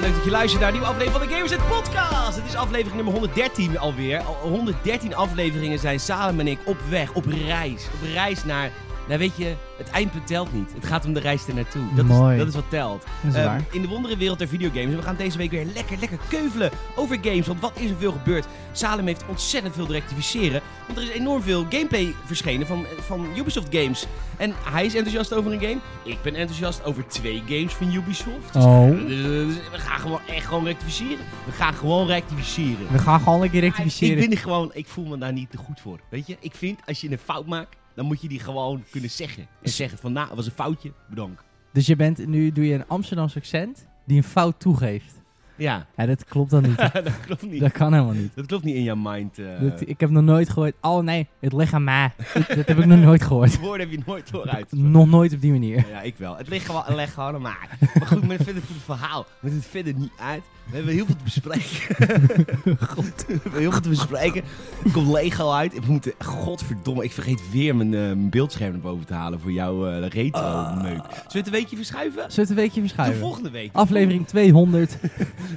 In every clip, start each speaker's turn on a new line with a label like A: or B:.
A: dat je luistert naar een nieuwe aflevering van de Gamers Net Podcast. Het is aflevering nummer 113 alweer. Al 113 afleveringen zijn Salem en ik op weg, op reis. Op reis naar, nou weet je, het eindpunt telt niet. Het gaat om de reis ernaartoe. Dat,
B: Mooi.
A: Is, dat is wat telt.
B: Dat is
A: Ehm,
B: waar.
A: In de wonderenwereld der videogames. En we gaan deze week weer lekker, lekker keuvelen over games. Want wat is er veel gebeurd? Salem heeft ontzettend veel te rectificeren. Want er is enorm veel gameplay verschenen van, van Ubisoft games. En hij is enthousiast over een game. Ik ben enthousiast over twee games van Ubisoft.
B: Oh.
A: Dus, eh, dus we gaan gewoon echt gewoon rectificeren. We gaan gewoon rectificeren.
B: We gaan gewoon een keer
A: Ik
B: rectificeren.
A: ben er gewoon, ik voel me daar niet te goed voor. Weet je, ik vind als je een fout maakt, dan moet je die gewoon kunnen zeggen. En zeggen van, nou, het was een foutje, bedankt.
B: Dus je bent, nu doe je een Amsterdams accent die een fout toegeeft.
A: Ja,
B: Ja, dat klopt dan niet.
A: dat klopt niet.
B: dat kan helemaal niet.
A: Dat klopt niet in jouw mind. eh.
B: Dat- ik heb nog nooit gehoord. Oh nee, het ligt aan mij. dat dat heb ik nog nooit gehoord.
A: Het woord heb je nooit dooruit.
B: Nog nooit op die manier.
A: Ja, ik wel. Het ligt gewoon, het ligt gewoon aan mij. Maar goed, met verder voor het verhaal. Met het verder niet uit. We hebben heel veel te bespreken. God. We hebben heel veel te bespreken. Er komt Lego uit. Ik moet, godverdomme, ik vergeet weer mijn eh, mijn beeldscherm naar boven te halen voor jouw eh, retro-meuk. Zullen we het een weekje verschuiven?
B: Zullen we het een weekje
A: De
B: Ah. verschuiven?
A: volgende week.
B: Aflevering 200.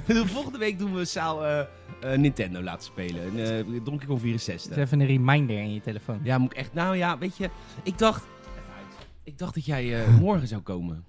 A: De volgende week doen we Saal eh, eh, Nintendo laten spelen. En, eh, Donkey Kong
B: Dus
A: 64.
B: even een reminder in je telefoon.
A: Ja, moet ik echt... Nou ja, weet je, ik dacht... Ik dacht dat jij eh, morgen zou komen.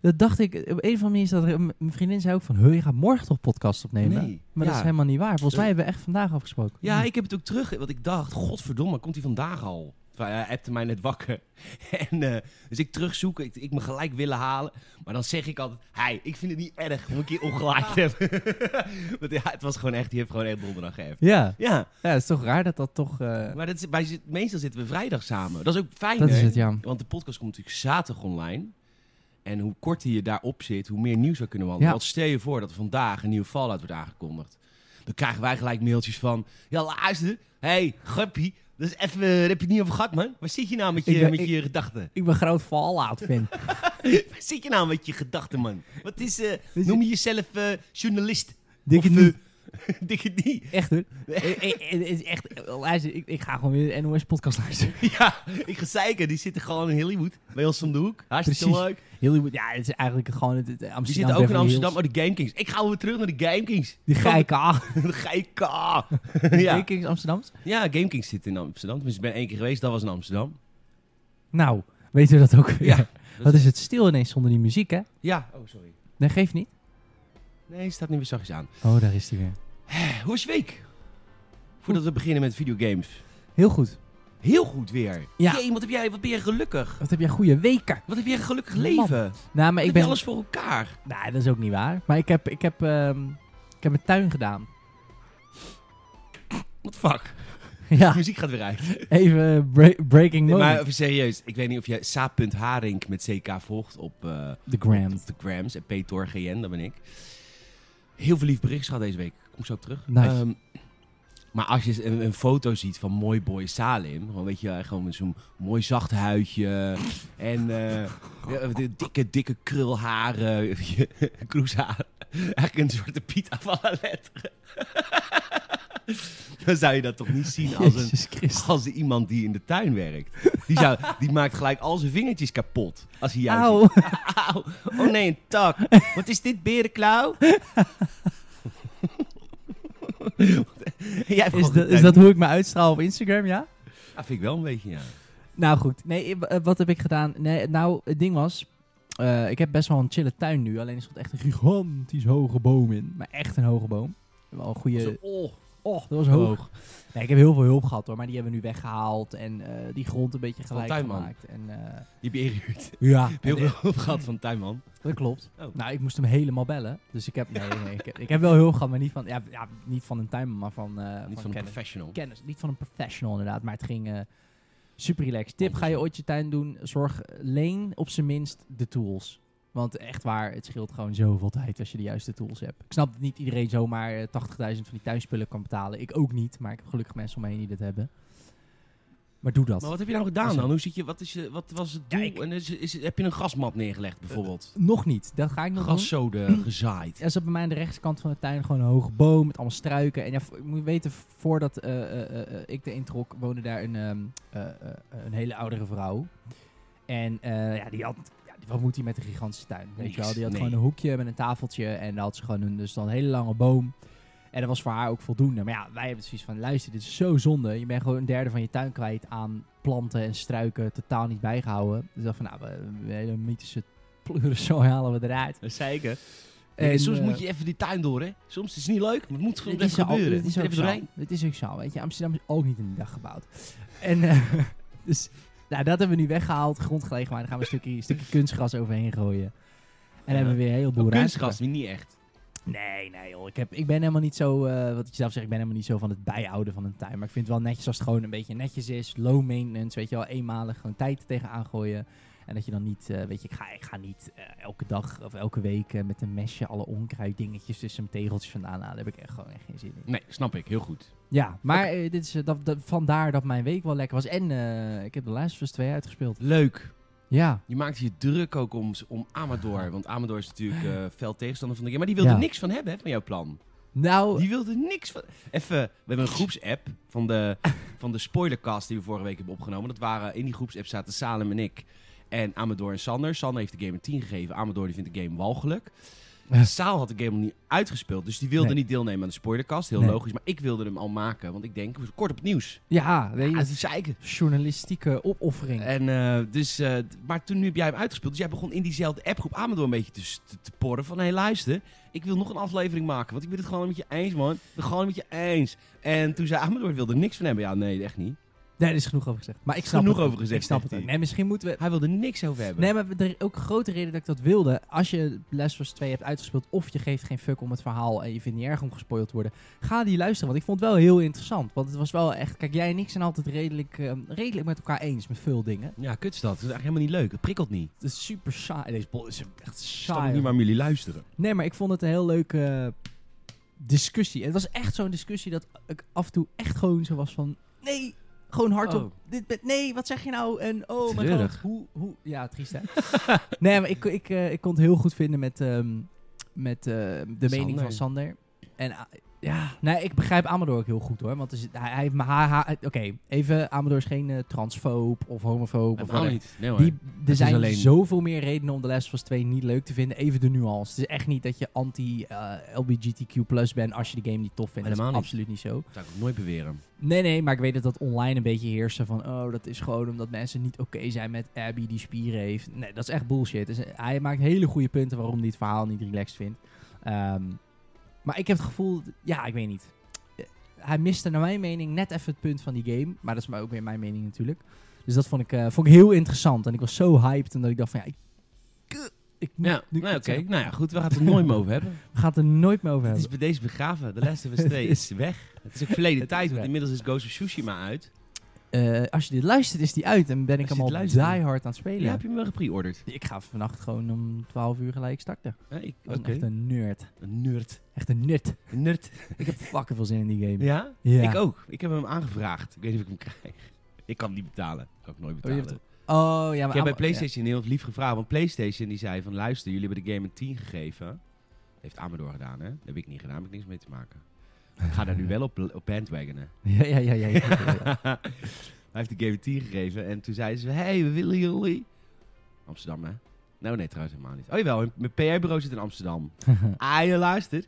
B: Dat dacht ik. Op een of andere manier is dat... er- m- Mijn vriendin zei ook van... "Huh, je gaat morgen toch podcast opnemen?
A: Nee.
B: Maar dat
A: Ja.
B: is helemaal niet waar. Volgens
A: Sorry.
B: mij hebben we echt vandaag afgesproken.
A: Ja, ik heb het ook terug, want ik dacht, godverdomme, komt hij vandaag al? Terwijl Hij appte mij net wakker. En, eh, dus ik terugzoek, ik, ik me gelijk willen halen. Maar dan zeg ik altijd, hey, ik vind het niet erg om een keer ongelijk te hebben. want ja, het was gewoon echt, die heeft gewoon echt donderdag geëft.
B: Ja.
A: Ja,
B: Ja, het is toch raar dat dat toch... eh,
A: maar dat is, wij, zit- meestal zitten we vrijdag samen. Dat is ook fijn,
B: dat is
A: hè?
B: het, ja.
A: Want de podcast komt natuurlijk zaterdag online. En hoe korter je daarop zit, hoe meer nieuws we kunnen
B: Ja.
A: wandelen. Want stel je voor dat er vandaag een nieuwe Fallout wordt aangekondigd. Dan krijgen wij gelijk mailtjes van... Ja, luister. Hé, hey, grappie. Dat is even... eh, Daar heb je het niet over gehad, man. Waar zit je nou met je,
B: Ik ben-
A: met
B: ik-
A: je gedachten?
B: Ik ben groot Fallout fan.
A: Waar zit je nou met je gedachten, man? Wat is... eh,
B: je-
A: noem je jezelf eh, journalist?
B: Dikke
A: Of,
B: niet.
A: eh, Dikke niet.
B: Echt hoor. Eh, eh, eh, Het is echt. Luister, ik, ik ga gewoon weer een NOS podcast luisteren.
A: Ja, ik ga zeiken. Die zitten gewoon in Hollywood. Bij ons om de hoek. Hartstikke
B: Precies.
A: leuk.
B: Heel, ja, het is eigenlijk gewoon het, het Amsterdam.
A: Die zitten ook in
B: Beverly
A: Amsterdam.
B: Hills.
A: Oh, de Game Kings. Ik ga weer terug naar de Game Kings.
B: Die geike acht.
A: De GK.
B: Ja.
A: ja.
B: Kings Amsterdams.
A: ja, GameKings zit in Amsterdam. Tenminste, ik ben één keer geweest, dat was in Amsterdam.
B: Nou, weten we dat ook weer?
A: Ja,
B: Wat is het stil ineens zonder die muziek, hè?
A: Ja. Oh, sorry.
B: Nee, geeft niet.
A: Nee, staat nu weer zachtjes aan.
B: Oh, daar is die weer.
A: Eh, Hoe is je week? Voordat we beginnen met videogames.
B: Heel goed.
A: Heel goed weer.
B: Ja.
A: Jee, wat, heb jij, wat ben jij gelukkig?
B: Wat heb jij goede weken?
A: Wat heb jij een gelukkig
B: Man,
A: leven? Maar
B: Nou, maar
A: ik
B: ik
A: heb je
B: ben.
A: alles voor elkaar?
B: Nou, dat is ook niet waar. Maar ik heb, ik heb, ehm, ik heb mijn tuin gedaan.
A: What the fuck?
B: ja,
A: De muziek gaat weer uit.
B: even bre- breaking
A: Nee,
B: moment.
A: maar even serieus. Ik weet niet of jij Saap.Haring met CK volgt op... eh,
B: De Grams.
A: Op de Grams. En Peter GN, dat ben ik. Heel veel lief bericht gehad deze week. Kom zo op terug.
B: Nice.
A: Ehm, maar als je een, een foto ziet van mooi boy Salim, gewoon weet je, eh, gewoon met zo'n mooi zacht huidje en eh, ja, de dikke, dikke krulharen, kroeshaar. Eigenlijk een zwarte piet af alle letteren. Dan zou je dat toch niet zien als een,
B: Jezus Christus.
A: als iemand die in de tuin werkt. Die, zou, die maakt gelijk al zijn vingertjes kapot als hij jou ziet.
B: Auw.
A: Auw. Oh nee, een tak. Wat is dit, berenklauw? Jij hebt
B: Is,
A: gewoon
B: dat- is dat hoe ik me uitstraal op Instagram, ja?
A: Ja, Ah, vind ik wel een beetje, ja.
B: Nou goed, nee, ik- eh, wat heb ik gedaan? Nee, nou, het ding was, eh, ik heb best wel een chille tuin nu. Alleen er stond echt een gigantisch hoge boom in. Maar echt een hoge boom. Wel een
A: Zo,
B: goede...
A: oh,
B: Oh, dat was hoog. Nee, ik heb heel veel hulp gehad hoor, maar die hebben we nu weggehaald. En eh, die grond een beetje
A: Van
B: gelijk
A: tuinman.
B: gemaakt. En, eh,
A: Die heb je ingehuurd.
B: ja,
A: Heb je heel
B: en, eh,
A: veel hulp gehad van tuinman?
B: dat klopt.
A: Oh.
B: Nou, ik moest hem helemaal bellen. Dus ik heb... Nee, nee, ik, heb- ik heb wel hulp gehad, maar niet van, ja, ja, niet van een tuinman, maar van, eh,
A: Niet van een
B: kennis.
A: professional.
B: kennis. Niet van een professional inderdaad, maar het ging eh, super relaxed. Tip, ga je ooit je tuin doen, zorg, leen op zijn minst de tools. Want echt waar, het scheelt gewoon zoveel tijd als je de juiste tools hebt. Ik snap dat niet iedereen zomaar eh, 80.000 van die tuinspullen kan betalen. Ik ook niet, maar ik heb gelukkig mensen om me heen die dat hebben. Maar doe dat.
A: Maar wat heb je nou gedaan dan? Hoe zit je, wat, is je, wat was het doel?
B: Ja, ik-
A: en is, is, heb je een grasmat neergelegd bijvoorbeeld?
B: Nog niet, dat ga ik nog doen.
A: Graszoden gezaaid.
B: Er zat bij mij aan de rechterkant van de tuin gewoon een hoge boom met allemaal struiken. En ja, vo- je moet weten, voordat eh, eh, eh, eh, ik erin trok, woonde daar een, ehm, eh, eh, een hele oudere vrouw. En eh, ja, die had, ja, Wat moet hij met een gigantische tuin? Weet je
A: Niks,
B: wel, die had
A: nee.
B: gewoon een hoekje met een tafeltje. En daar had ze gewoon een, dus dan een hele lange boom. En dat was voor haar ook voldoende. Maar ja, wij hebben zoiets van, luister, dit is zo zonde. Je bent gewoon een derde van je tuin kwijt aan planten en struiken. Totaal niet bijgehouden. Dus dat van, nou, we- we- een hele mythische pleurenzooi halen we eruit.
A: Zeker.
B: En,
A: En, soms
B: eh,
A: moet je even die tuin door, hè? Soms is het niet leuk, maar het moet gewoon
B: Het
A: even
B: is, al,
A: gebeuren.
B: het
A: Moet
B: is
A: er
B: ook
A: even
B: zo.
A: doorheen.
B: Het is ook zo. Weet je, Amsterdam is ook niet in een dag gebouwd. En eh, dus, nou, dat hebben we nu weggehaald, grondgelegen, maar dan gaan we een stukje, stukje kunstgras overheen gooien. En dan
A: Ja.
B: hebben we weer een heleboel
A: Een
B: ruimte.
A: kunstgast, niet echt.
B: Nee, nee joh. Ik, heb, ik ben helemaal niet zo, eh, wat ik zelf zeg, ik ben helemaal niet zo van het bijhouden van een tuin. Maar ik vind het wel netjes als het gewoon een beetje netjes is. Low maintenance, weet je wel. Eenmalig gewoon tijd er tegenaan gooien. En dat je dan niet, eh, weet je, ik ga, ik ga niet eh, elke dag of elke week eh, met een mesje alle onkruiddingetjes tussen mijn tegeltjes vandaan halen. Daar heb ik echt gewoon echt geen zin in.
A: Nee, snap ik. Heel goed.
B: Ja, maar eh, dit is, eh, dat, dat- vandaar dat mijn week wel lekker was. En eh, ik heb de Last of Us 2 uitgespeeld.
A: Leuk.
B: Ja,
A: Je maakt je druk ook om, om Amador. Want Amador is natuurlijk eh fel tegenstander van de game. Maar die wilde
B: Ja.
A: niks van hebben, hè, van jouw plan.
B: nou,
A: Die wilde niks van... Even, we hebben een groepsapp van de, van de spoilercast die we vorige week hebben opgenomen. Dat waren, in die groepsapp zaten Salem en ik. En Amador en Sander. Sander heeft de game een 10 gegeven. Amador die vindt de game walgelijk. Saal had de game nog niet uitgespeeld. Dus die wilde
B: Nee.
A: niet deelnemen aan de spoilercast. Heel
B: Nee.
A: logisch. Maar ik wilde hem al maken. Want ik denk, kort op het nieuws.
B: ja, weet je,
A: Ah, dat is zeiken.
B: journalistieke opoffering.
A: En, eh, dus, eh, d- maar toen nu heb jij hem uitgespeeld. Dus jij begon in diezelfde appgroep Amador een beetje te, s- te, te porren. Van, hé luister, ik wil nog een aflevering maken. Want ik ben het gewoon met je eens, man. Ik ben het gewoon met je eens. En toen zei Amador, ik wilde er niks van hebben. Ja, nee, echt niet.
B: Daar is genoeg over gezegd. Maar ik snap
A: Genoeg
B: het ook.
A: over gezegd,
B: Ik snap het
A: zegt
B: ook.
A: hij.
B: Nee, misschien moeten we...
A: Hij wilde niks over hebben.
B: Nee, maar er is ook een grote reden dat ik dat wilde. Als je Last of Us 2 hebt uitgespeeld of je geeft geen fuck om het verhaal en je vindt het niet erg om gespoild te worden, ga die luisteren. Want ik vond het wel heel interessant. Want het was wel echt... Kijk, jij en ik zijn altijd redelijk, eh, redelijk met elkaar eens met veel dingen.
A: Ja, kut is dat. Dat is eigenlijk helemaal niet leuk. Het prikkelt niet.
B: Het is super saai. Deze bol is echt
A: Ik
B: saai.
A: snap niet maar jullie luisteren.
B: Nee, maar ik vond het een heel leuke eh, discussie. En het was echt zo'n discussie dat ik af en toe echt gewoon zo was van... Nee, gewoon hardop.
A: Oh.
B: Dit, ben- nee, wat zeg je nou? En oh mijn god,
A: Treurig.
B: hoe, hoe... Ja, triest hè? nee, maar ik, ik, eh, ik kon het heel goed vinden met, ehm, met eh, de mening
A: Sander.
B: van Sander. En ah, ja, nee, ik begrijp Amador ook heel goed hoor. Want er zit- hij, hij heeft... maar hij- hij- Oké, even, Amador is geen eh, transfoob of homofoob. of
A: Helemaal
B: whatever.
A: niet. Nee hoor.
B: Die, er
A: is
B: zijn
A: alleen-
B: zoveel meer redenen om de Last of Us 2 niet leuk te vinden. Even de nuance. Het is echt niet dat je eh, anti-LBGTQ bent als je de game niet tof vindt.
A: Helemaal
B: dat
A: niet.
B: is absoluut niet zo.
A: zou ik ook nooit beweren.
B: Nee, nee, maar ik weet dat dat online een beetje heersen van... Oh, dat is gewoon omdat mensen niet oké zijn met Abby die spieren heeft. Nee, dat is echt bullshit. Dus hij maakt hele goede punten waarom hij het verhaal niet relaxed vindt. Ehm, maar ik heb het gevoel... Ja, ik weet niet. Eh, Hij miste naar mijn mening net even het punt van die game. Maar dat is maar ook weer mijn mening natuurlijk. Dus dat vond ik, eh, vond ik heel interessant. En ik was zo hyped. En dat ik dacht van... Ja, ik, ik moet
A: Ja,
B: nu-
A: nou, oké. Nou ja, goed. We gaan het er nooit meer over hebben.
B: We gaan het er nooit meer over
A: Het
B: hebben.
A: is bij deze begraven. De Last of Us 2 is weg. Het is ook verleden
B: Het is
A: tijd, want
B: weg.
A: inmiddels is Ghost of Tsushima uit.
B: Eh, als je dit luistert, is die uit. En ben ik
A: Als je
B: hem al
A: dit luistert,
B: die hard aan het spelen.
A: Ja, heb je hem wel gepreorderd?
B: Ik ga vannacht gewoon om 12 uur gelijk starten.
A: Hè, ik-
B: Ik was
A: oké.
B: echt een nerd.
A: Een nerd.
B: Echt een nerd.
A: Een nerd.
B: Ik heb fucking veel zin in die game.
A: Ja?
B: Ja.
A: Ik ook. Ik heb hem aangevraagd. Ik weet niet of ik hem krijg. Ik kan hem niet betalen. Ik kan ik nooit
B: Oh, je
A: betalen.
B: hebt Oh, ja, maar...
A: ik heb bij
B: allemaal-
A: PlayStation heel lief gevraagd. Want PlayStation die zei van... Luister, jullie hebben de game een 10 gegeven. Heeft Amador gedaan, hè? Dat heb ik niet gedaan. Daar heb ik niks mee te maken. Ik ga daar nu wel op, op bandwagonen.
B: Ja, ja, ja. ja, ja, ja, ja.
A: Hij heeft de game een 10 gegeven. En toen zeiden ze... hey, we willen jullie... Amsterdam, hè? Nou, nee, trouwens helemaal niet. Oh jawel, mijn PR-bureau zit in Amsterdam. Ah, je luister.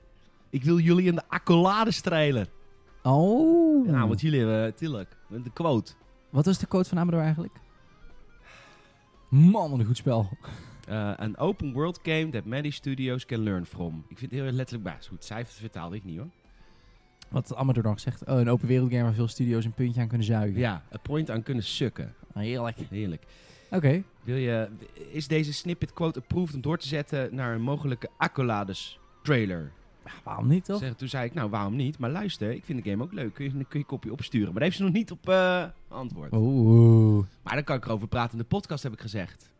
A: Ik wil jullie in de accolades trailer.
B: oh.
A: Ja, want jullie hebben Tillijk. Met de quote.
B: Wat was de code van Amador eigenlijk? Man, wat een goed spel.
A: Eh, An open world game that many studios can learn from. Ik vind het heel erg letterlijk bij. Is goed, cijfers vertaalde ik niet hoor.
B: Wat Amador nog zegt. Oh, een open wereld game waar veel studio's een puntje aan kunnen zuigen. Ah,
A: Ja, een point aan kunnen sukken.
B: Heerlijk.
A: Heerlijk.
B: Oké.
A: Wil je, is deze snippet quote approved om door te zetten naar een mogelijke accolades trailer?
B: Ja, waarom niet, toch?
A: Zeg, toen zei ik, nou waarom niet? Maar luister, ik vind de game ook leuk. Kun je, kun je een kopje opsturen? Maar daar heeft ze nog niet op eh, antwoord.
B: Oh. Oeh.
A: Maar daar kan ik erover praten in de podcast, heb ik gezegd.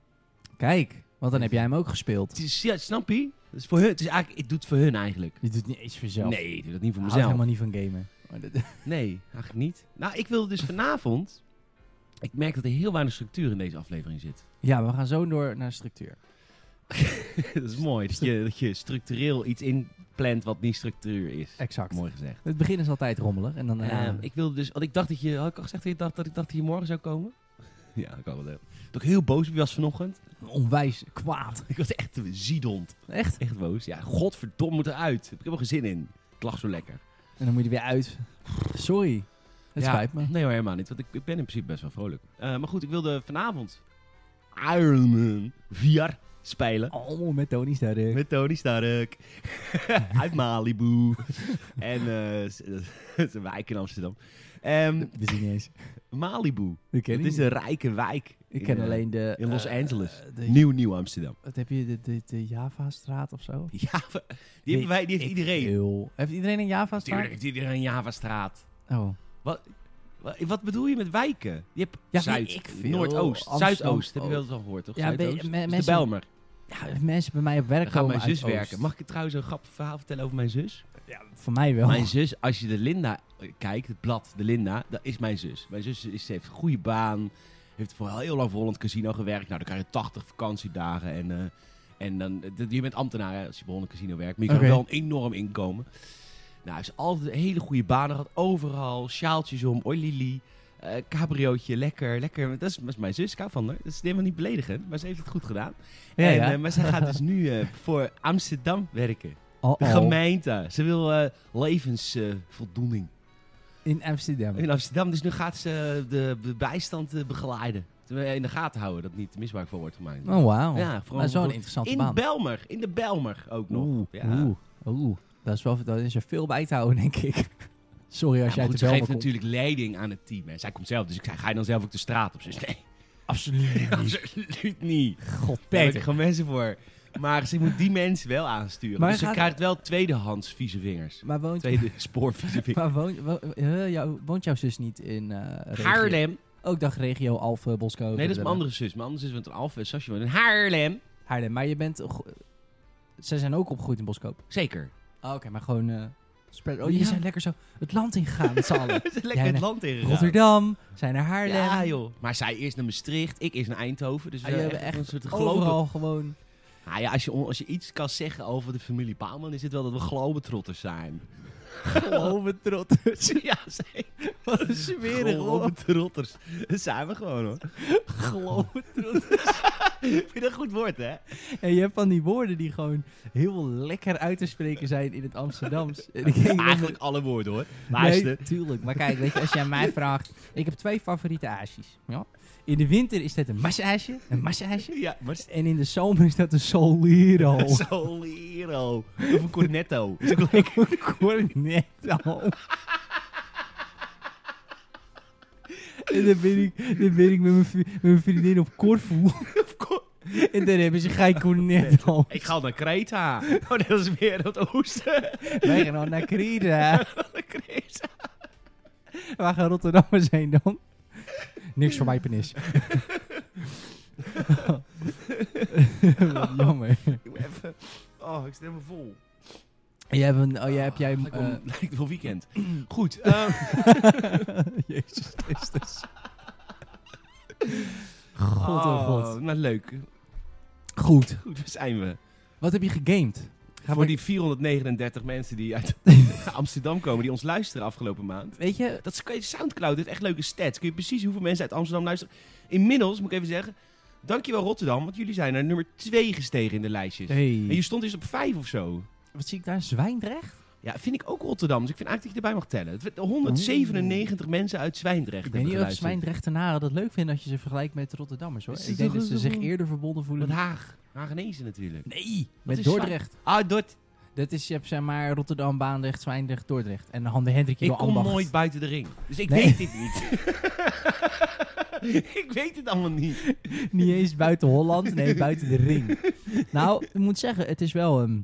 B: Kijk, want dan heb jij hem ook gespeeld.
A: Het is, ja, snap je? Het is voor hun, het is eigenlijk, ik doe het voor hun eigenlijk.
B: Je doet niet eens voor jezelf.
A: Nee, ik doe dat niet voor
B: Houdt
A: mezelf.
B: helemaal niet van gamen. Maar dat-
A: Nee, eigenlijk niet. Nou, ik wilde dus vanavond. Ik merk dat er heel weinig structuur in deze aflevering zit.
B: Ja, we gaan zo door naar structuur.
A: dat is mooi. Dat je, dat je structureel iets inplant wat niet structuur is.
B: Exact.
A: Mooi gezegd.
B: Het begin is altijd rommelig en dan eh, daarna...
A: Ehm, ik wilde dus, want ik dacht dat je, had ik al gezegd dat, je dacht, dat ik dacht dat je morgen zou komen? Ja, dat kan wel delen. Dat ik heel boos op je was vanochtend.
B: Onwijs kwaad.
A: Ik was echt een ziedond.
B: Echt?
A: Echt boos. Ja, godverdomme moet eruit. Heb ik helemaal geen zin in. Ik lag zo lekker.
B: En dan moet je er weer uit. Sorry. Het
A: Ja,
B: spijt me.
A: Nee hoor, helemaal niet. Want ik, ik ben in principe best wel vrolijk. Eh, maar goed, ik wilde vanavond Ironman VR spelen.
B: Oh, met Tony Sterk.
A: Met Tony Stark. Uit Malibu. en eh, s- dat is een wijk in Amsterdam. Ehm,
B: Dat is niet eens.
A: Malibu.
B: Ik ken
A: Het
B: die
A: is een rijke wijk.
B: niet. Ik
A: in,
B: ken
A: eh,
B: alleen de...
A: in Los
B: eh,
A: Angeles.
B: eh, de-
A: Nieuw, nieuw Amsterdam.
B: Wat heb je? De, de, de Java-straat of zo?
A: Ja, die, hebben wij, die heeft
B: Ik-
A: iedereen.
B: heel- Heeft iedereen een Java-straat?
A: Tuurlijk heeft iedereen een Javastraat.
B: Oh.
A: Wat, wat bedoel je met wijken? Je hebt
B: Ja,
A: Zuid,
B: weet ik veel.
A: Noordoost,
B: Amsterdam
A: Zuidoost. Heb je wel
B: Oost.
A: eens al gehoord, toch?
B: Ja, weet je, me-
A: Zuidoost. Dat is de
B: mensen-
A: Bijlmer.
B: Ja, mensen bij mij op werk
A: Daar gaat
B: komen
A: mijn zus
B: uit Oost.
A: werken. Mag ik je trouwens een grappig verhaal vertellen over mijn zus?
B: Ja, voor mij wel.
A: Mijn zus, als je de Linda eh, kijkt, het blad, de Linda, dat is mijn zus. Mijn zus is, ze heeft een goede baan, heeft voor heel lang voor Holland Casino gewerkt. Nou, dan krijg je 80 vakantiedagen en, eh, en dan, d- je bent ambtenaar hè, als je bij Holland Casino werkt, maar je
B: Oké.
A: krijgt wel een enorm inkomen. Nou, ze heeft altijd een hele goede baan gehad, overal, sjaaltjes om, oi Lili. eh, cabriootje, lekker, lekker. Dat is, dat is mijn zus, ik hou van haar. Dat is helemaal niet beledigend, maar ze heeft het goed gedaan.
B: Ja,
A: en,
B: ja.
A: eh, maar zij gaat dus nu eh, voor Amsterdam werken.
B: Oh,
A: De
B: oh.
A: gemeente. Ze wil eh, levensvoldoening
B: In Amsterdam.
A: in Amsterdam. Dus nu gaat ze de, de bijstand eh, begeleiden. Terwijl In de gaten houden dat niet misbruik van wordt gemaakt.
B: Oh, wauw.
A: Ja,
B: dat
A: vooral
B: is wel een
A: voor-
B: interessante
A: in
B: baan.
A: Belmer. In de Belmer ook nog.
B: Oeh,
A: Ja.
B: oeh, oeh. Dat is, wel, dat is er veel bij te houden, denk ik. Sorry
A: Ja,
B: als jij
A: maar goed,
B: te
A: ze
B: wel
A: geeft
B: komt.
A: natuurlijk leiding aan het team. En zij komt zelf. Dus ik zei, ga je dan zelf ook de straat op? Ze is nee,
B: Absoluut niet.
A: absoluut niet.
B: God,
A: Daar heb ik
B: Peter.
A: gewoon mensen voor. Maar ze moet die mensen wel aansturen.
B: Maar
A: dus ze
B: gaat-
A: krijgt wel tweedehands vieze vingers.
B: Maar woont,
A: Tweede spoor vieze vingers.
B: maar woont, wo- eh, jou- woont jouw zus niet in eh regio-
A: Haarlem.
B: Ook dag regio Alphen, Boskoop.
A: Nee, dat is mijn andere zus. Mijn andere zus woont in Alphen. en Sasje woont in Haarlem.
B: Haarlem, maar je bent... go- Ze zijn ook opgegroeid in Boskoop.
A: Zeker.
B: Ah, Oké, maar gewoon... eh, spread, oh,
A: Ja.
B: jullie zijn lekker zo het land ingegaan met z'n allen.
A: We zijn lekker
B: Ja,
A: het
B: nee.
A: land in
B: Rotterdam, zijn naar Haarlem.
A: Ja, joh. Maar zij eerst naar Maastricht, ik eerst naar Eindhoven. Dus we
B: Ah, jullie
A: hebben
B: hebben
A: echt een
B: echt
A: soort globe...
B: Overal gewoon...
A: Nou ja, als je, on- als je iets kan zeggen over de familie Paalman, is het wel dat we globetrotters zijn. Globetrotters? ja, zeker.
B: Wat een smerig woord.
A: Globetrotters. Dat zijn we gewoon, hoor. Globetrotters. Vind je dat een goed woord, hè?
B: En je hebt van die woorden die gewoon heel lekker uit te spreken zijn in het Amsterdams. En ik denk dat-
A: Eigenlijk alle woorden, hoor.
B: Nee,
A: Luister.
B: tuurlijk. Maar kijk, weet je, als jij mij vraagt... Ik heb twee favoriete aasjes. Ja? In de winter is dat een massaasje, een massaasje.
A: Ja, maar...
B: En in de zomer is dat een solero.
A: Solero. Of een cornetto. Is ook lekker.
B: Cornetto. En dan ben ik, dan ben ik met, mijn, vri- met mijn vriendin op Corfu. En daar hebben ze geen cornetto.
A: Ik ga al naar Kreta. Oh, dat is weer het oosten.
B: Wij gaan al naar Creta.
A: Kreta.
B: Waar gaan Rotterdammers heen dan? Niks voor mij, penis. Wat Jammer.
A: Ik moet even. Oh, ik zit helemaal vol.
B: Jij hebt een... Oh, jij hebt jij...
A: Lijkt wel,
B: eh,
A: lijkt wel weekend. Goed. ehm,
B: Jezus Christus. God, oh god.
A: Nou, leuk.
B: Goed.
A: Goed, daar zijn we.
B: Wat heb je gegamed? Ga
A: Voor
B: maar-
A: die 439 mensen die uit Amsterdam komen, die ons luisteren afgelopen maand.
B: Weet je...
A: Dat is, Soundcloud heeft echt leuke stats. Kun je precies hoeveel mensen uit Amsterdam luisteren. Inmiddels, moet ik even zeggen, dankjewel Rotterdam, want jullie zijn naar nummer 2 gestegen in de lijstjes. En je
B: Hey.
A: stond dus op 5 of zo.
B: Wat zie ik daar? Zwijndrecht?
A: Ja, vind ik ook Rotterdam. Dus ik vind eigenlijk dat je erbij mag tellen. Het werd 197 mensen uit Zwijndrecht
B: Ik weet
A: hebben
B: niet of
A: geluisterd.
B: Zwijndrechtenaren dat leuk vinden als je ze vergelijkt met Rotterdammers, hoor.
A: Is
B: Ik
A: het
B: denk
A: toch
B: dat ze
A: een-
B: zich eerder verbonden voelen...
A: Met Haag. Haagenezen natuurlijk.
B: Nee, met
A: is
B: Dordrecht.
A: Ah, Dort.
B: Dat is, je hebt zeg maar Rotterdam, Baandrecht, Zwijndrecht, Dordrecht. En Hande Hendrik
A: Ik
B: wil
A: kom
B: ambacht.
A: nooit buiten de ring. Dus ik
B: Nee.
A: weet dit niet. ik weet het allemaal niet.
B: Niet eens buiten Holland, nee, buiten de ring. Nou, ik moet zeggen, het is wel... ehm,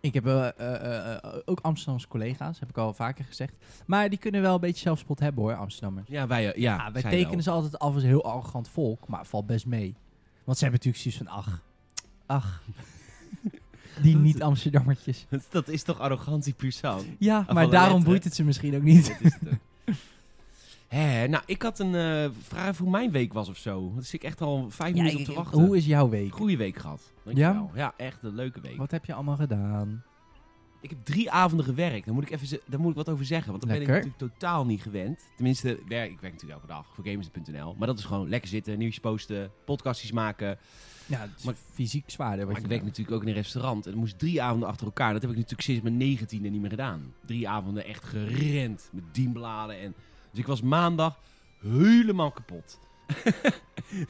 B: ik heb eh, eh, eh, ook Amsterdamse collega's, heb ik al vaker gezegd. Maar die kunnen wel een beetje zelfspot hebben hoor, Amsterdammers.
A: Ja, Ah, wij, eh, ja, ja,
B: Ja, wij
A: zij
B: tekenen
A: wel.
B: ze altijd af als een heel arrogant volk, maar het valt best mee. Want ze hebben natuurlijk zoiets van, ach, ach. Die niet-Amsterdammertjes.
A: Dat is toch arrogantie puur zang?
B: Ja,
A: van
B: maar
A: de
B: daarom
A: letteren.
B: boeit het ze misschien ook niet.
A: Dat is het ook. Hè, nou, ik had een eh, vraag even hoe mijn week was of zo. Want Daar zit ik echt al vijf
B: Ja,
A: minuten op
B: ik-
A: te
B: ik-
A: wachten.
B: hoe is jouw week?
A: Goeie week gehad. Dankjewel. Ja? echt een leuke week.
B: Wat heb je allemaal gedaan?
A: Ik heb drie avonden gewerkt. Daar moet ik, even, ze- daar moet ik wat over zeggen. Want dat ben ik
B: Lekker.
A: natuurlijk totaal niet gewend. Tenminste, werk, ik werk natuurlijk elke dag voor gamers.nl. Maar dat is gewoon lekker zitten, nieuwtjes posten, podcastjes maken.
B: Ja, het is
A: Maar-
B: fysiek zwaarder. Wat
A: Maar ik
B: je
A: werk
B: doet.
A: natuurlijk ook in een restaurant. En dat moest drie avonden achter elkaar. Dat heb ik natuurlijk sinds mijn negentiende niet meer gedaan. Drie avonden echt gerend. Met dienbladen. En... Dus ik was maandag helemaal kapot.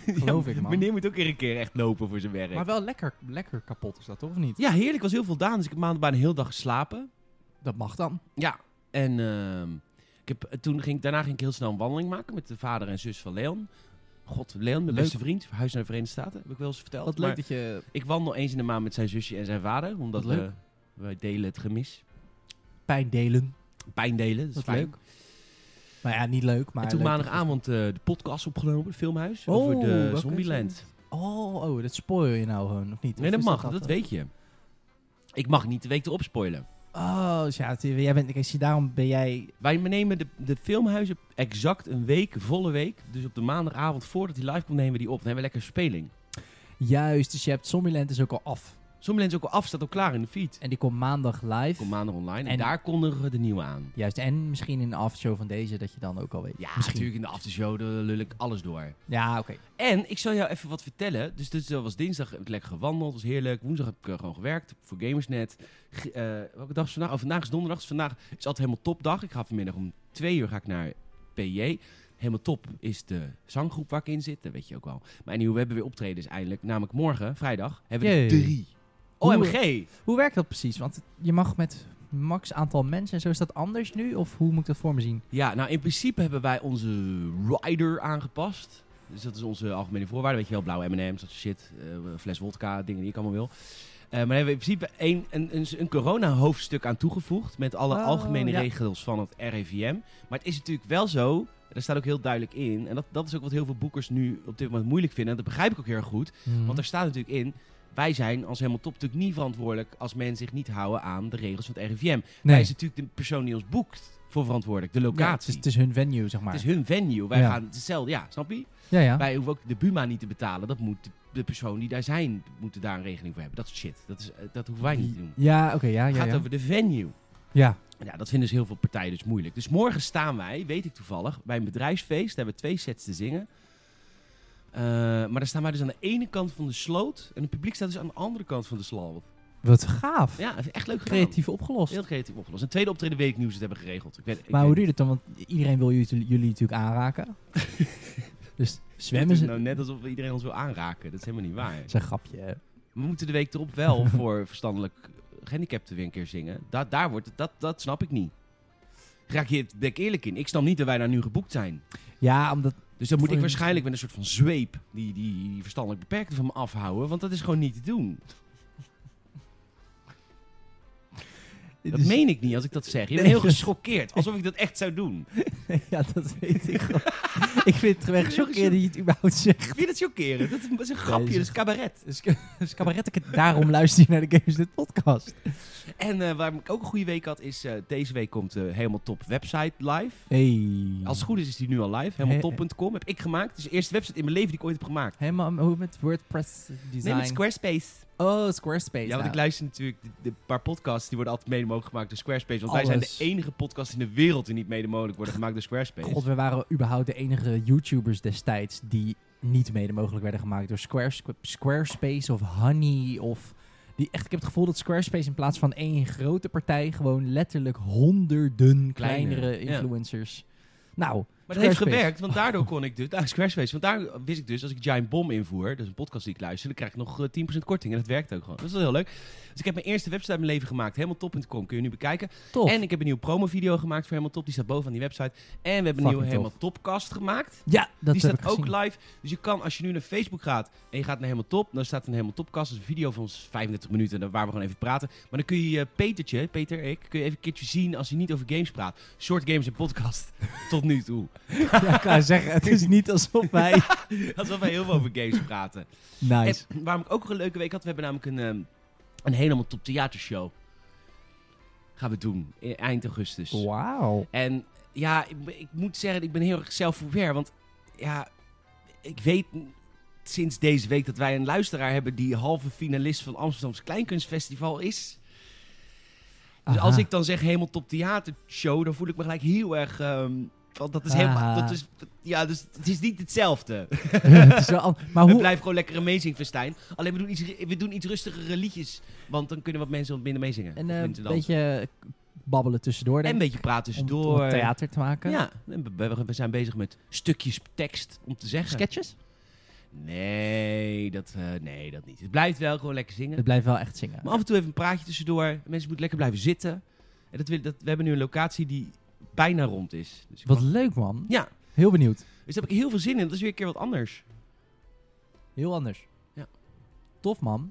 B: Geloof ik, man.
A: Meneer moet ook weer een keer echt lopen voor zijn werk.
B: Maar wel lekker, lekker kapot is dat, toch? Of niet?
A: Ja, heerlijk. was heel veel gedaan. Dus ik heb maandag bijna heel dag geslapen.
B: Dat mag dan.
A: Ja, en ehm, ik heb, eh, toen ging, ik- daarna ging ik heel snel een wandeling maken met de vader en zus van Leon. God, Leon, mijn
B: Leuk.
A: beste vriend, verhuisd naar de Verenigde Staten, heb ik wel eens verteld.
B: Wat leuk
A: Maar
B: dat je...
A: Ik wandel eens in de maand met zijn zusje en zijn vader, omdat
B: Wat leuk.
A: we, wij delen het gemis.
B: Pijn delen.
A: Pijn delen, dat is
B: Wat fijn.
A: leuk.
B: Nou ja, niet leuk, maar...
A: en toen
B: leuk dat je-
A: maandagavond eh, de podcast opgenomen, het filmhuis,
B: Oh,
A: over de
B: welke
A: Zombieland.
B: Oh, oh, dat spoil je nou gewoon, of niet?
A: Nee,
B: Of
A: dat
B: is
A: mag, dat, weet je. Ik mag niet de week erop spoilen.
B: Oh, dus ja, het- jij bent, ik zie, daarom ben jij...
A: Wij nemen de, de filmhuizen exact een week, volle week. Dus op de maandagavond, voordat hij live komt, nemen we die op. Dan hebben we lekker speling.
B: Juist, dus je hebt Zombieland is ook al af.
A: Sommige mensen ook al af, staat al klaar in de feed.
B: En die komt maandag live.
A: Kom maandag online en,
B: En-
A: daar kondigen we de nieuwe aan.
B: Juist, en misschien in de aftershow van deze, dat je dan ook al weet.
A: Ja,
B: misschien.
A: natuurlijk in de aftershow, daar lul ik alles door.
B: Ja, oké.
A: En ik zal jou even wat vertellen. Dus dit was dinsdag, heb ik lekker gewandeld, was heerlijk. Woensdag heb ik eh, gewoon gewerkt voor Gamersnet. G- eh, welke dag is vandaag? Oh, vandaag is donderdag, dus vandaag is altijd helemaal topdag. Ik ga vanmiddag om twee uur ga ik naar PJ. Helemaal top is de zanggroep waar ik in zit, dat weet je ook wel. Maar anyway, we hebben weer optredens eindelijk. Namelijk morgen, vrijdag, hebben we er
B: Jee.
A: drie.
B: Hoe-
A: OMG!
B: Hoe werkt dat precies? Want je mag met max aantal mensen en zo. Is dat anders nu? Of hoe moet ik dat voor me zien?
A: Ja, nou in principe hebben wij onze rider aangepast. Dus dat is onze algemene voorwaarde. Weet je wel, blauwe M&M's, dat soort shit. eh, fles wodka, dingen die ik allemaal wil. Eh, maar daar hebben we in principe een, een, een, een corona-hoofdstuk aan toegevoegd. Met alle
B: Oh,
A: algemene
B: ja.
A: regels van het RIVM. Maar het is natuurlijk wel zo, daar staat ook heel duidelijk in. En dat, dat is ook wat heel veel boekers nu op dit moment moeilijk vinden. En dat begrijp ik ook heel erg goed.
B: Mhm.
A: Want er staat natuurlijk in, wij zijn als helemaal top natuurlijk niet verantwoordelijk... als men zich niet houden aan de regels van het RIVM. Hij
B: nee,
A: is natuurlijk de persoon die ons boekt voor verantwoordelijk. De locatie.
B: Ja, het, is, het is hun venue, zeg maar.
A: Het is hun venue. Wij
B: Ja.
A: gaan het is hetzelfde, ja, snap je?
B: ja, ja.
A: Wij hoeven ook de Buma niet te betalen. Dat moet de, de persoon die daar zijn, moeten daar een regeling voor hebben. Dat soort shit. Dat, is, eh, dat hoeven wij niet te doen.
B: Ja, oké, ja,
A: Het
B: ja.
A: gaat
B: ja.
A: over de venue.
B: ja.
A: Ja, dat vinden dus heel veel partijen dus moeilijk. Dus morgen staan wij, weet ik toevallig, bij een bedrijfsfeest. Daar hebben we twee sets te zingen. Eh, maar daar staan wij dus aan de ene kant van de sloot. En het publiek staat dus aan de andere kant van de sloot.
B: Wat gaaf.
A: Ja, echt leuk gedaan.
B: Creatief opgelost.
A: Heel creatief opgelost. Een tweede optreden weet ik niet hoe ze het hebben geregeld. Ik weet, ik
B: maar hoe
A: weet
B: doe je dat dan? Want iedereen wil jullie, jullie natuurlijk aanraken. dus zwemmen
A: Het
B: ze...
A: is nou net alsof iedereen ons wil aanraken. Dat is helemaal niet waar.
B: Dat is een grapje. hè.
A: We moeten de week erop wel voor verstandelijk gehandicapten weer een keer zingen. Da daar wordt het, dat, dat snap ik niet. Raak je het ben ik eerlijk in? Ik snap niet dat wij daar nu geboekt zijn.
B: Ja, omdat...
A: Dus dan moet
B: Voor
A: ik
B: je-
A: waarschijnlijk met een soort van zweep die, die, die verstandelijk beperkte van me afhouden. Want dat is gewoon niet te doen. Dat
B: dus-
A: meen ik niet als ik dat zeg. Je bent
B: Nee.
A: heel geschokkeerd. Alsof ik dat echt zou doen.
B: ja, dat weet ik gewoon. ik vind het echt
A: Heel
B: chockerend dat je het überhaupt zegt.
A: Vind je dat chockerend? Dat is- dat is een grapje, dat is cabaret.
B: Dus, dus cabaret, ik- daarom luister je naar de Games Net podcast.
A: En eh, waar ik ook een goede week had, is eh, deze week komt de helemaal top website live.
B: Hey.
A: Als het goed is, is die nu al live.
B: Hey.
A: Helemaal top.com heb ik gemaakt. Het is de eerste website in mijn leven die ik ooit heb gemaakt.
B: Helemaal hoe met WordPress design.
A: Nee, met Squarespace.
B: oh, Squarespace.
A: Ja, want
B: nou.
A: ik luister natuurlijk de, de paar podcasts die worden altijd mede mogelijk gemaakt door Squarespace. Want wij zijn
B: Alles.
A: de enige podcast in de wereld die niet mede mogelijk worden gemaakt door Squarespace.
B: God, we waren überhaupt de enige YouTubers destijds die niet mede mogelijk werden gemaakt door Squares- Squarespace of Honey of... Die echt, ik heb het gevoel dat Squarespace in plaats van één grote partij gewoon letterlijk honderden
A: Kleine,
B: kleinere
A: ja.
B: influencers. Nou,
A: Maar dat heeft
B: Squarespace.
A: gewerkt, want daardoor kon ik dus... Nou, Squarespace, want daar wist ik dus, als ik Giant Bomb invoer, dat is een podcast die ik luister, dan krijg ik nog eh, 10% korting. En dat werkt ook gewoon. Dat is wel heel leuk. Dus ik heb mijn eerste website in mijn leven gemaakt. Helemaal top.com, kun je nu bekijken.
B: tof.
A: En ik heb een nieuwe promovideo gemaakt voor Helemaal Top. Die staat bovenaan die website. En we hebben een
B: Fucking
A: nieuwe
B: tof.
A: Helemaal Topcast gemaakt.
B: ja, dat
A: die
B: heb
A: staat
B: ik
A: ook
B: gezien.
A: live. Dus je kan, als je nu naar Facebook gaat en je gaat naar Helemaal Top, dan staat een Helemaal Topcast. Dat is een video van ons 35 minuten daar waar we gewoon even praten. Maar dan kun je eh, Petertje, Peter, ik, kun je even een keertje zien als hij niet over games praat. Short games en podcast. Tot nu toe.
B: Ja, ik wou zeggen, het is niet alsof wij...
A: Alsof wij heel veel over games praten.
B: Nice.
A: En waarom ik ook een leuke week had, we hebben namelijk een, ehm, een Helemaal Top theatershow. Gaan we doen. in- Eind augustus.
B: Wauw.
A: En ja, ik, ik moet zeggen, ik ben heel erg zelfverwer. Want ja, ik weet n- sinds deze week dat wij een luisteraar hebben die halve finalist van Amsterdamse Kleinkunstfestival is. Dus
B: Aha.
A: als ik dan zeg helemaal top theatershow, dan voel ik me gelijk heel erg. ehm, want dat is
B: Ah.
A: helemaal. Dat is, ja, dus het is niet hetzelfde.
B: Het is wel an- maar
A: We
B: hoe...
A: blijven gewoon lekker amazing festijn. Alleen we doen iets, we doen iets rustigere liedjes. Want dan kunnen wat mensen wat minder meezingen.
B: En
A: Of
B: eh,
A: minder
B: een
A: dansen.
B: beetje babbelen tussendoor,
A: en
B: denk
A: een
B: ik,
A: beetje praten
B: om,
A: tussendoor.
B: om het theater te maken.
A: Ja, en we- we, we zijn bezig met stukjes tekst om te zeggen.
B: Sketches?
A: Nee, dat, eh, nee, dat niet. Het blijft wel gewoon lekker zingen.
B: Het blijft wel echt zingen.
A: Maar af en toe even een praatje tussendoor. Mensen moeten lekker blijven zitten. En dat wil, dat, we hebben nu een locatie die bijna rond is. Dus ik
B: Wat
A: mag-
B: leuk, man.
A: Ja,
B: Heel benieuwd.
A: dus daar heb ik heel veel zin in. Dat is weer een keer wat anders.
B: Heel anders.
A: Ja.
B: Tof, man.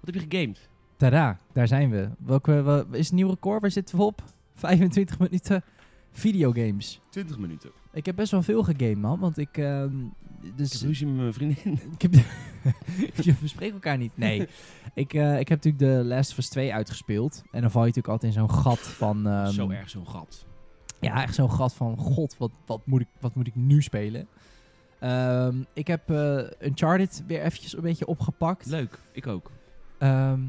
A: Wat heb je gegamed?
B: Tada, daar zijn we. Welke, wel- is het nieuw record? Waar zitten we op? 25 minuten videogames.
A: 20 minuten.
B: Ik heb best wel veel gegamed, man. Want ik... ehm,
A: Ik heb
B: dus,
A: ruzie met mijn vriendin.
B: ik heb, je bespreekt elkaar niet. Nee. ik, eh, ik heb natuurlijk de Last of Us 2 uitgespeeld. En dan val je natuurlijk altijd in zo'n gat van... ehm,
A: Zo erg zo'n gat.
B: Ja, echt zo'n gat van... God, wat, wat, moet, ik, wat moet ik nu spelen? Ehm, ik heb eh Uncharted weer eventjes een beetje opgepakt.
A: Leuk, ik ook.
B: Ehm,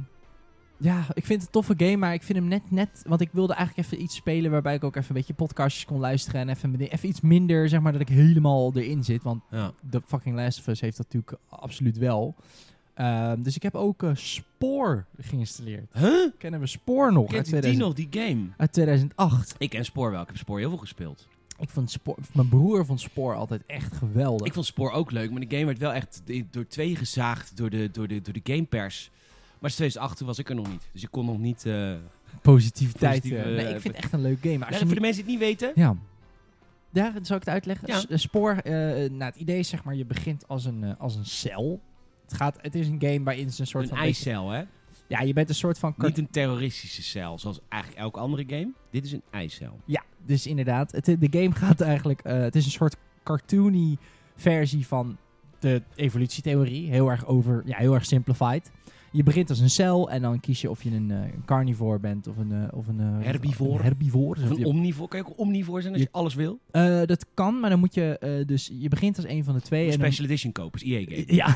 B: ja, ik vind het een toffe game, maar ik vind hem net net... Want ik wilde eigenlijk even iets spelen waarbij ik ook even een beetje podcastjes kon luisteren. En even, even iets minder, zeg maar, dat ik helemaal erin zit. Want
A: Ja.
B: The fucking Last of Us heeft dat natuurlijk absoluut wel. Ehm, dus ik heb ook eh, Spoor geïnstalleerd.
A: Huh?
B: Kennen we Spoor nog?
A: Kent
B: uit,
A: je die
B: 2000
A: nog, die game?
B: uit 2008.
A: Ik ken Spoor wel. Ik heb Spoor heel veel gespeeld.
B: Ik vond Spoor, mijn broer vond Spoor altijd echt geweldig.
A: Ik vond Spoor ook leuk, maar de game werd wel echt de- door twee gezaagd door de, door de, door de gamepers. Maar sinds 2008 toen was ik er nog niet. Dus ik kon nog niet... eh,
B: Positiviteit.
A: Positieve,
B: eh, nee,
A: eh,
B: ik vind het echt een leuk game. Maar als
A: Ja, voor
B: je
A: de mensen die het niet weten...
B: Ja. Ja, dan zal ik het uitleggen.
A: Ja.
B: S- eh, Spoor, eh, nou, het idee is zeg maar, je begint als een, eh, als een cel. Het, gaat, het is een game waarin ze een soort
A: Een
B: van...
A: ijscel, hè?
B: beetje- ja, je bent een soort van... kar-
A: Niet een terroristische cel, zoals eigenlijk elke andere game. Dit is een ijscel.
B: Ja, dus inderdaad. Het, de game gaat eigenlijk... eh, het is een soort cartoony versie van de evolutietheorie. Heel erg over... Ja, heel erg simplified. Je begint als een cel en dan kies je of je een, eh, een carnivore bent of een... eh, of een eh,
A: Herbivore.
B: een herbivore. Dus
A: Of
B: of je-
A: een omnivore. Kan je ook omnivore zijn als je,
B: Je-
A: alles wil?
B: Eh, dat kan, maar dan moet je... eh, dus je begint als een van de twee.
A: Een
B: en dan-
A: special edition kopen, is E EA-game.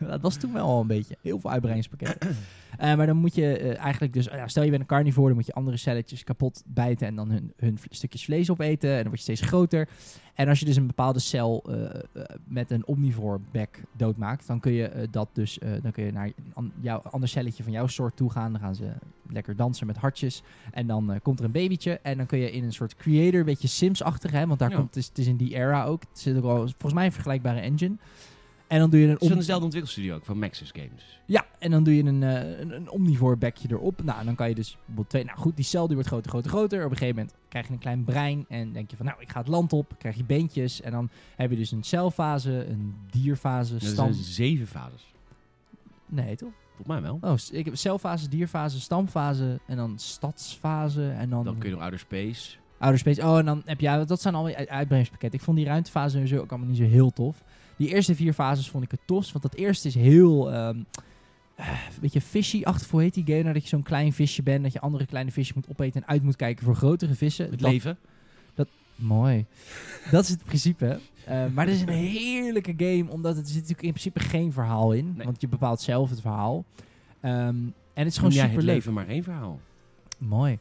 B: Ja, dat was toen wel al een beetje. Heel veel uitbreidingspakket. Eh, maar dan moet je eh, eigenlijk dus... ja, stel je bent een carnivore, dan moet je andere celletjes kapot bijten... en dan hun, hun v- stukjes vlees opeten. En dan word je steeds groter. En als je dus een bepaalde cel eh, eh, met een omnivore bek doodmaakt... dan kun je eh, dat dus... eh, dan kun je naar een an- jouw ander celletje van jouw soort toe gaan. Dan gaan ze lekker dansen met hartjes. En dan eh, komt er een babytje. En dan kun je in een soort creator, een beetje Sims-achtig... Hè, want daar
A: Ja.
B: komt, het, is, het is in die era ook. Het zit ook al, volgens mij een vergelijkbare engine... En dan doe je een
A: Het is van
B: om-
A: dezelfde ontwikkelstudio ook, van Maxis Games.
B: ja, en dan doe je een, eh, een, een omnivore bekje erop. Nou, en dan kan je dus bijvoorbeeld twee... Nou goed, die cel die wordt groter, groter, groter. Op een gegeven moment krijg je een klein brein en denk je van... Nou, ik ga het land op, krijg je beentjes. En dan heb je dus een celfase, een dierfase,
A: Er
B: stam...
A: zijn zeven fases.
B: Nee, toch?
A: Volgens mij wel.
B: Oh, s- ik heb celfase, dierfase, stamfase en dan stadsfase. En dan,
A: Dan kun je nog Outer Space.
B: Outer Space. Oh, en dan heb je... ja, Dat zijn allemaal uit- uitbrengingspakketten. Ik vond die ruimtefase sowieso ook allemaal niet zo heel tof. Die eerste vier fases vond ik het tofst. Want dat eerste is heel... ehm, eh, een beetje fishy-achtig. Hoe heet die game nou? Dat je zo'n klein visje bent. Dat je andere kleine visjes moet opeten. En uit moet kijken voor grotere vissen.
A: Het
B: Dat-
A: leven.
B: Mooi. Dat is het principe. Eh, maar dit is een heerlijke game, omdat het er zit natuurlijk in principe geen verhaal in.
A: Nee.
B: Want je bepaalt zelf het verhaal. Ehm, en het is
A: Noem
B: gewoon
A: jij
B: super
A: het
B: leuk.
A: leven maar één verhaal.
B: Mooi.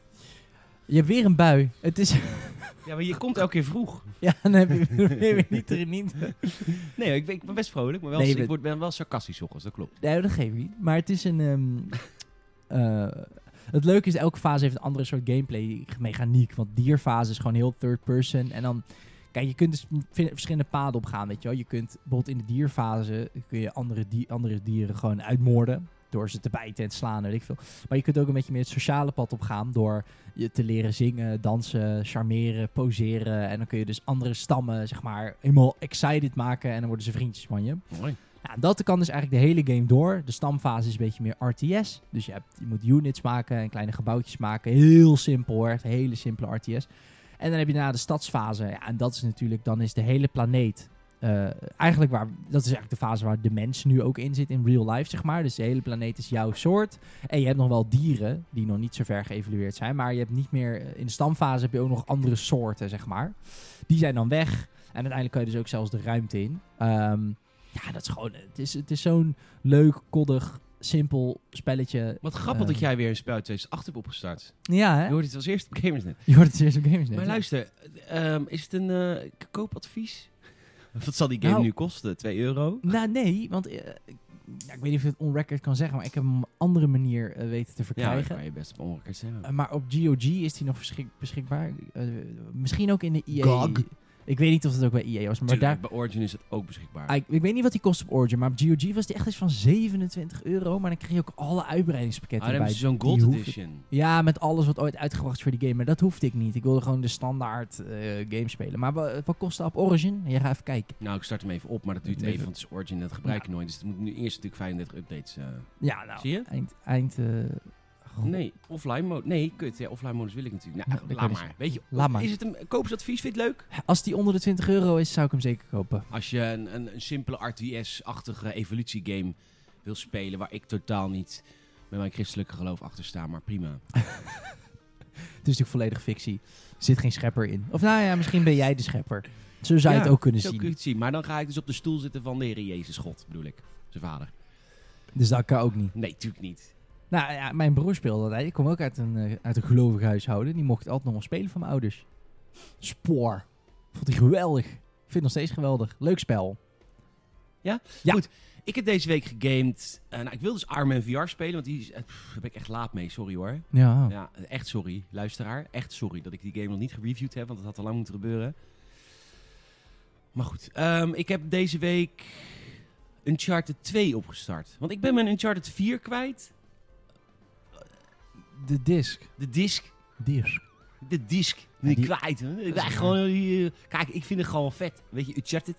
B: Je hebt weer een bui. Het is...
A: Ja, maar je komt elke keer vroeg.
B: Ja, dan heb je weer- weer niet erin. Niet.
A: Nee, ik, ben- ik ben best vrolijk, maar wel,
B: Nee, je
A: ik
B: bent-
A: word, ben wel sarcastisch ochtends, dat klopt.
B: Nee, dat geeft niet. Maar het is een... ehm, eh, het leuke is, elke fase heeft een andere soort gameplay mechaniek. Want dierfase is gewoon heel third person. En dan... Kijk, je kunt dus vi- verschillende paden opgaan, weet je wel. Je kunt bijvoorbeeld in de dierfase... kun je andere, die- andere dieren gewoon uitmoorden. Door ze te bijten en te slaan, weet ik veel. Maar je kunt ook een beetje meer het sociale pad opgaan... door je te leren zingen, dansen, charmeren, poseren. En dan kun je dus andere stammen, zeg maar... helemaal excited maken en dan worden ze vriendjes van je.
A: Mooi.
B: Nou, dat kan dus eigenlijk de hele game door. De stamfase is een beetje meer RTS. Dus je, hebt, je moet units maken en kleine gebouwtjes maken. Heel simpel hoor. Echt een hele simpele RTS. En dan heb je daarna de stadsfase. Ja, en dat is natuurlijk, dan is de hele planeet. eh, eigenlijk waar, dat is eigenlijk de fase waar de mens nu ook in zit in real life, zeg maar. Dus de hele planeet is jouw soort. En je hebt nog wel dieren die nog niet zo ver geëvalueerd zijn. Maar je hebt niet meer, eh, in de stamfase heb je ook nog andere soorten, zeg maar. Die zijn dan weg. En uiteindelijk kan je dus ook zelfs de ruimte in. Ehm, ja, dat is gewoon. Het is, het is zo'n leuk, koddig, simpel spelletje.
A: Wat grappig
B: Ehm.
A: dat jij weer een spel uit 2008 hebt opgestart.
B: Ja, hè?
A: Je hoort het als eerste op Gamersnet.
B: Je hoort het eerst op Games
A: Maar luister, ehm, is het een eh, koopadvies? Wat zal die game
B: Nou.
A: nu kosten? 2 euro?
B: Nou, nee, want eh, ik- ja, ik weet niet of je het onrecord kan zeggen, maar ik heb hem op een andere manier eh, weten te
A: Ja,
B: verkrijgen.
A: dat kan je best op ongekeerd zeggen.
B: Eh, maar op GOG is die nog beschik- beschikbaar. Eh, misschien ook in de EA.
A: GOG.
B: Ik weet niet of het ook bij EA was, maar
A: Tuurlijk,
B: daar...
A: Bij Origin is het ook beschikbaar.
B: Ah, Ik, ik weet niet wat die kost op Origin, maar op GOG was die echt iets van 27 euro. Maar dan kreeg je ook alle
A: Ah,
B: uitbreidingspakketten
A: dan hebben
B: bij.
A: ze zo'n
B: Die
A: Gold
B: hoef ik-
A: Edition.
B: Ja, met alles wat ooit uitgebracht is voor die game. Maar dat hoefde ik niet. Ik wilde gewoon de standaard eh, game spelen. Maar wa- wat kostte op Origin? Ja, ga even kijken.
A: Nou, ik start hem even op, maar dat duurt
B: Even-
A: even, want het is Origin, dat gebruik je nooit. Dus het moet nu eerst natuurlijk 35 updates. eh.
B: Ja, nou.
A: Zie je?
B: Eind... eind eh, goh.
A: Nee, offline mode. Nee, kut. Ja, offline modus wil ik natuurlijk.
B: Ja,
A: Nou,
B: dat kan
A: laat
B: je
A: maar. Weet je,
B: Laat maar.
A: Is het een koopsadvies? Vind je het leuk?
B: Als die onder de 20 euro is, zou ik hem zeker kopen.
A: Als je een, een, een simpele RTS-achtige evolutiegame wil spelen, waar ik totaal niet met mijn christelijke geloof achter sta, maar prima.
B: Het is natuurlijk volledig fictie. Er zit geen schepper in. Of nou ja, misschien ben jij de schepper. Zo zou je
A: Ja,
B: het ook kunnen
A: Zo
B: zien.
A: kun je het zien. Maar dan ga ik dus op de stoel zitten van de Heer Jezus God, bedoel ik. Zijn vader.
B: Dus dat kan ook niet.
A: Nee, tuurlijk niet.
B: Nou ja, mijn broer speelde dat. Ik kom ook uit een, eh, uit een gelovig huishouden. Die mocht altijd nog wel spelen van mijn ouders. Spoor. Vond hij geweldig. Ik vind het nog steeds geweldig. Leuk spel.
A: Ik heb deze week gegamed. eh, nou, ik wil dus Armen VR spelen, want die is, eh, pff, daar ben ik echt laat mee. Sorry hoor.
B: Ja.
A: Ja, echt sorry, luisteraar. Echt sorry dat ik die game nog niet gereviewd heb, want dat had al lang moeten gebeuren. Maar goed, ehm, ik heb deze week Uncharted 2 opgestart. Want ik ben mijn Uncharted 4 kwijt.
B: De disc.
A: De disc.
B: Disc.
A: De disc.
B: Ja,
A: niet
B: die-
A: kwijt. hè. Ik ben
B: waar.
A: gewoon, die, eh, kijk, ik vind het gewoon vet. Weet je, Uncharted.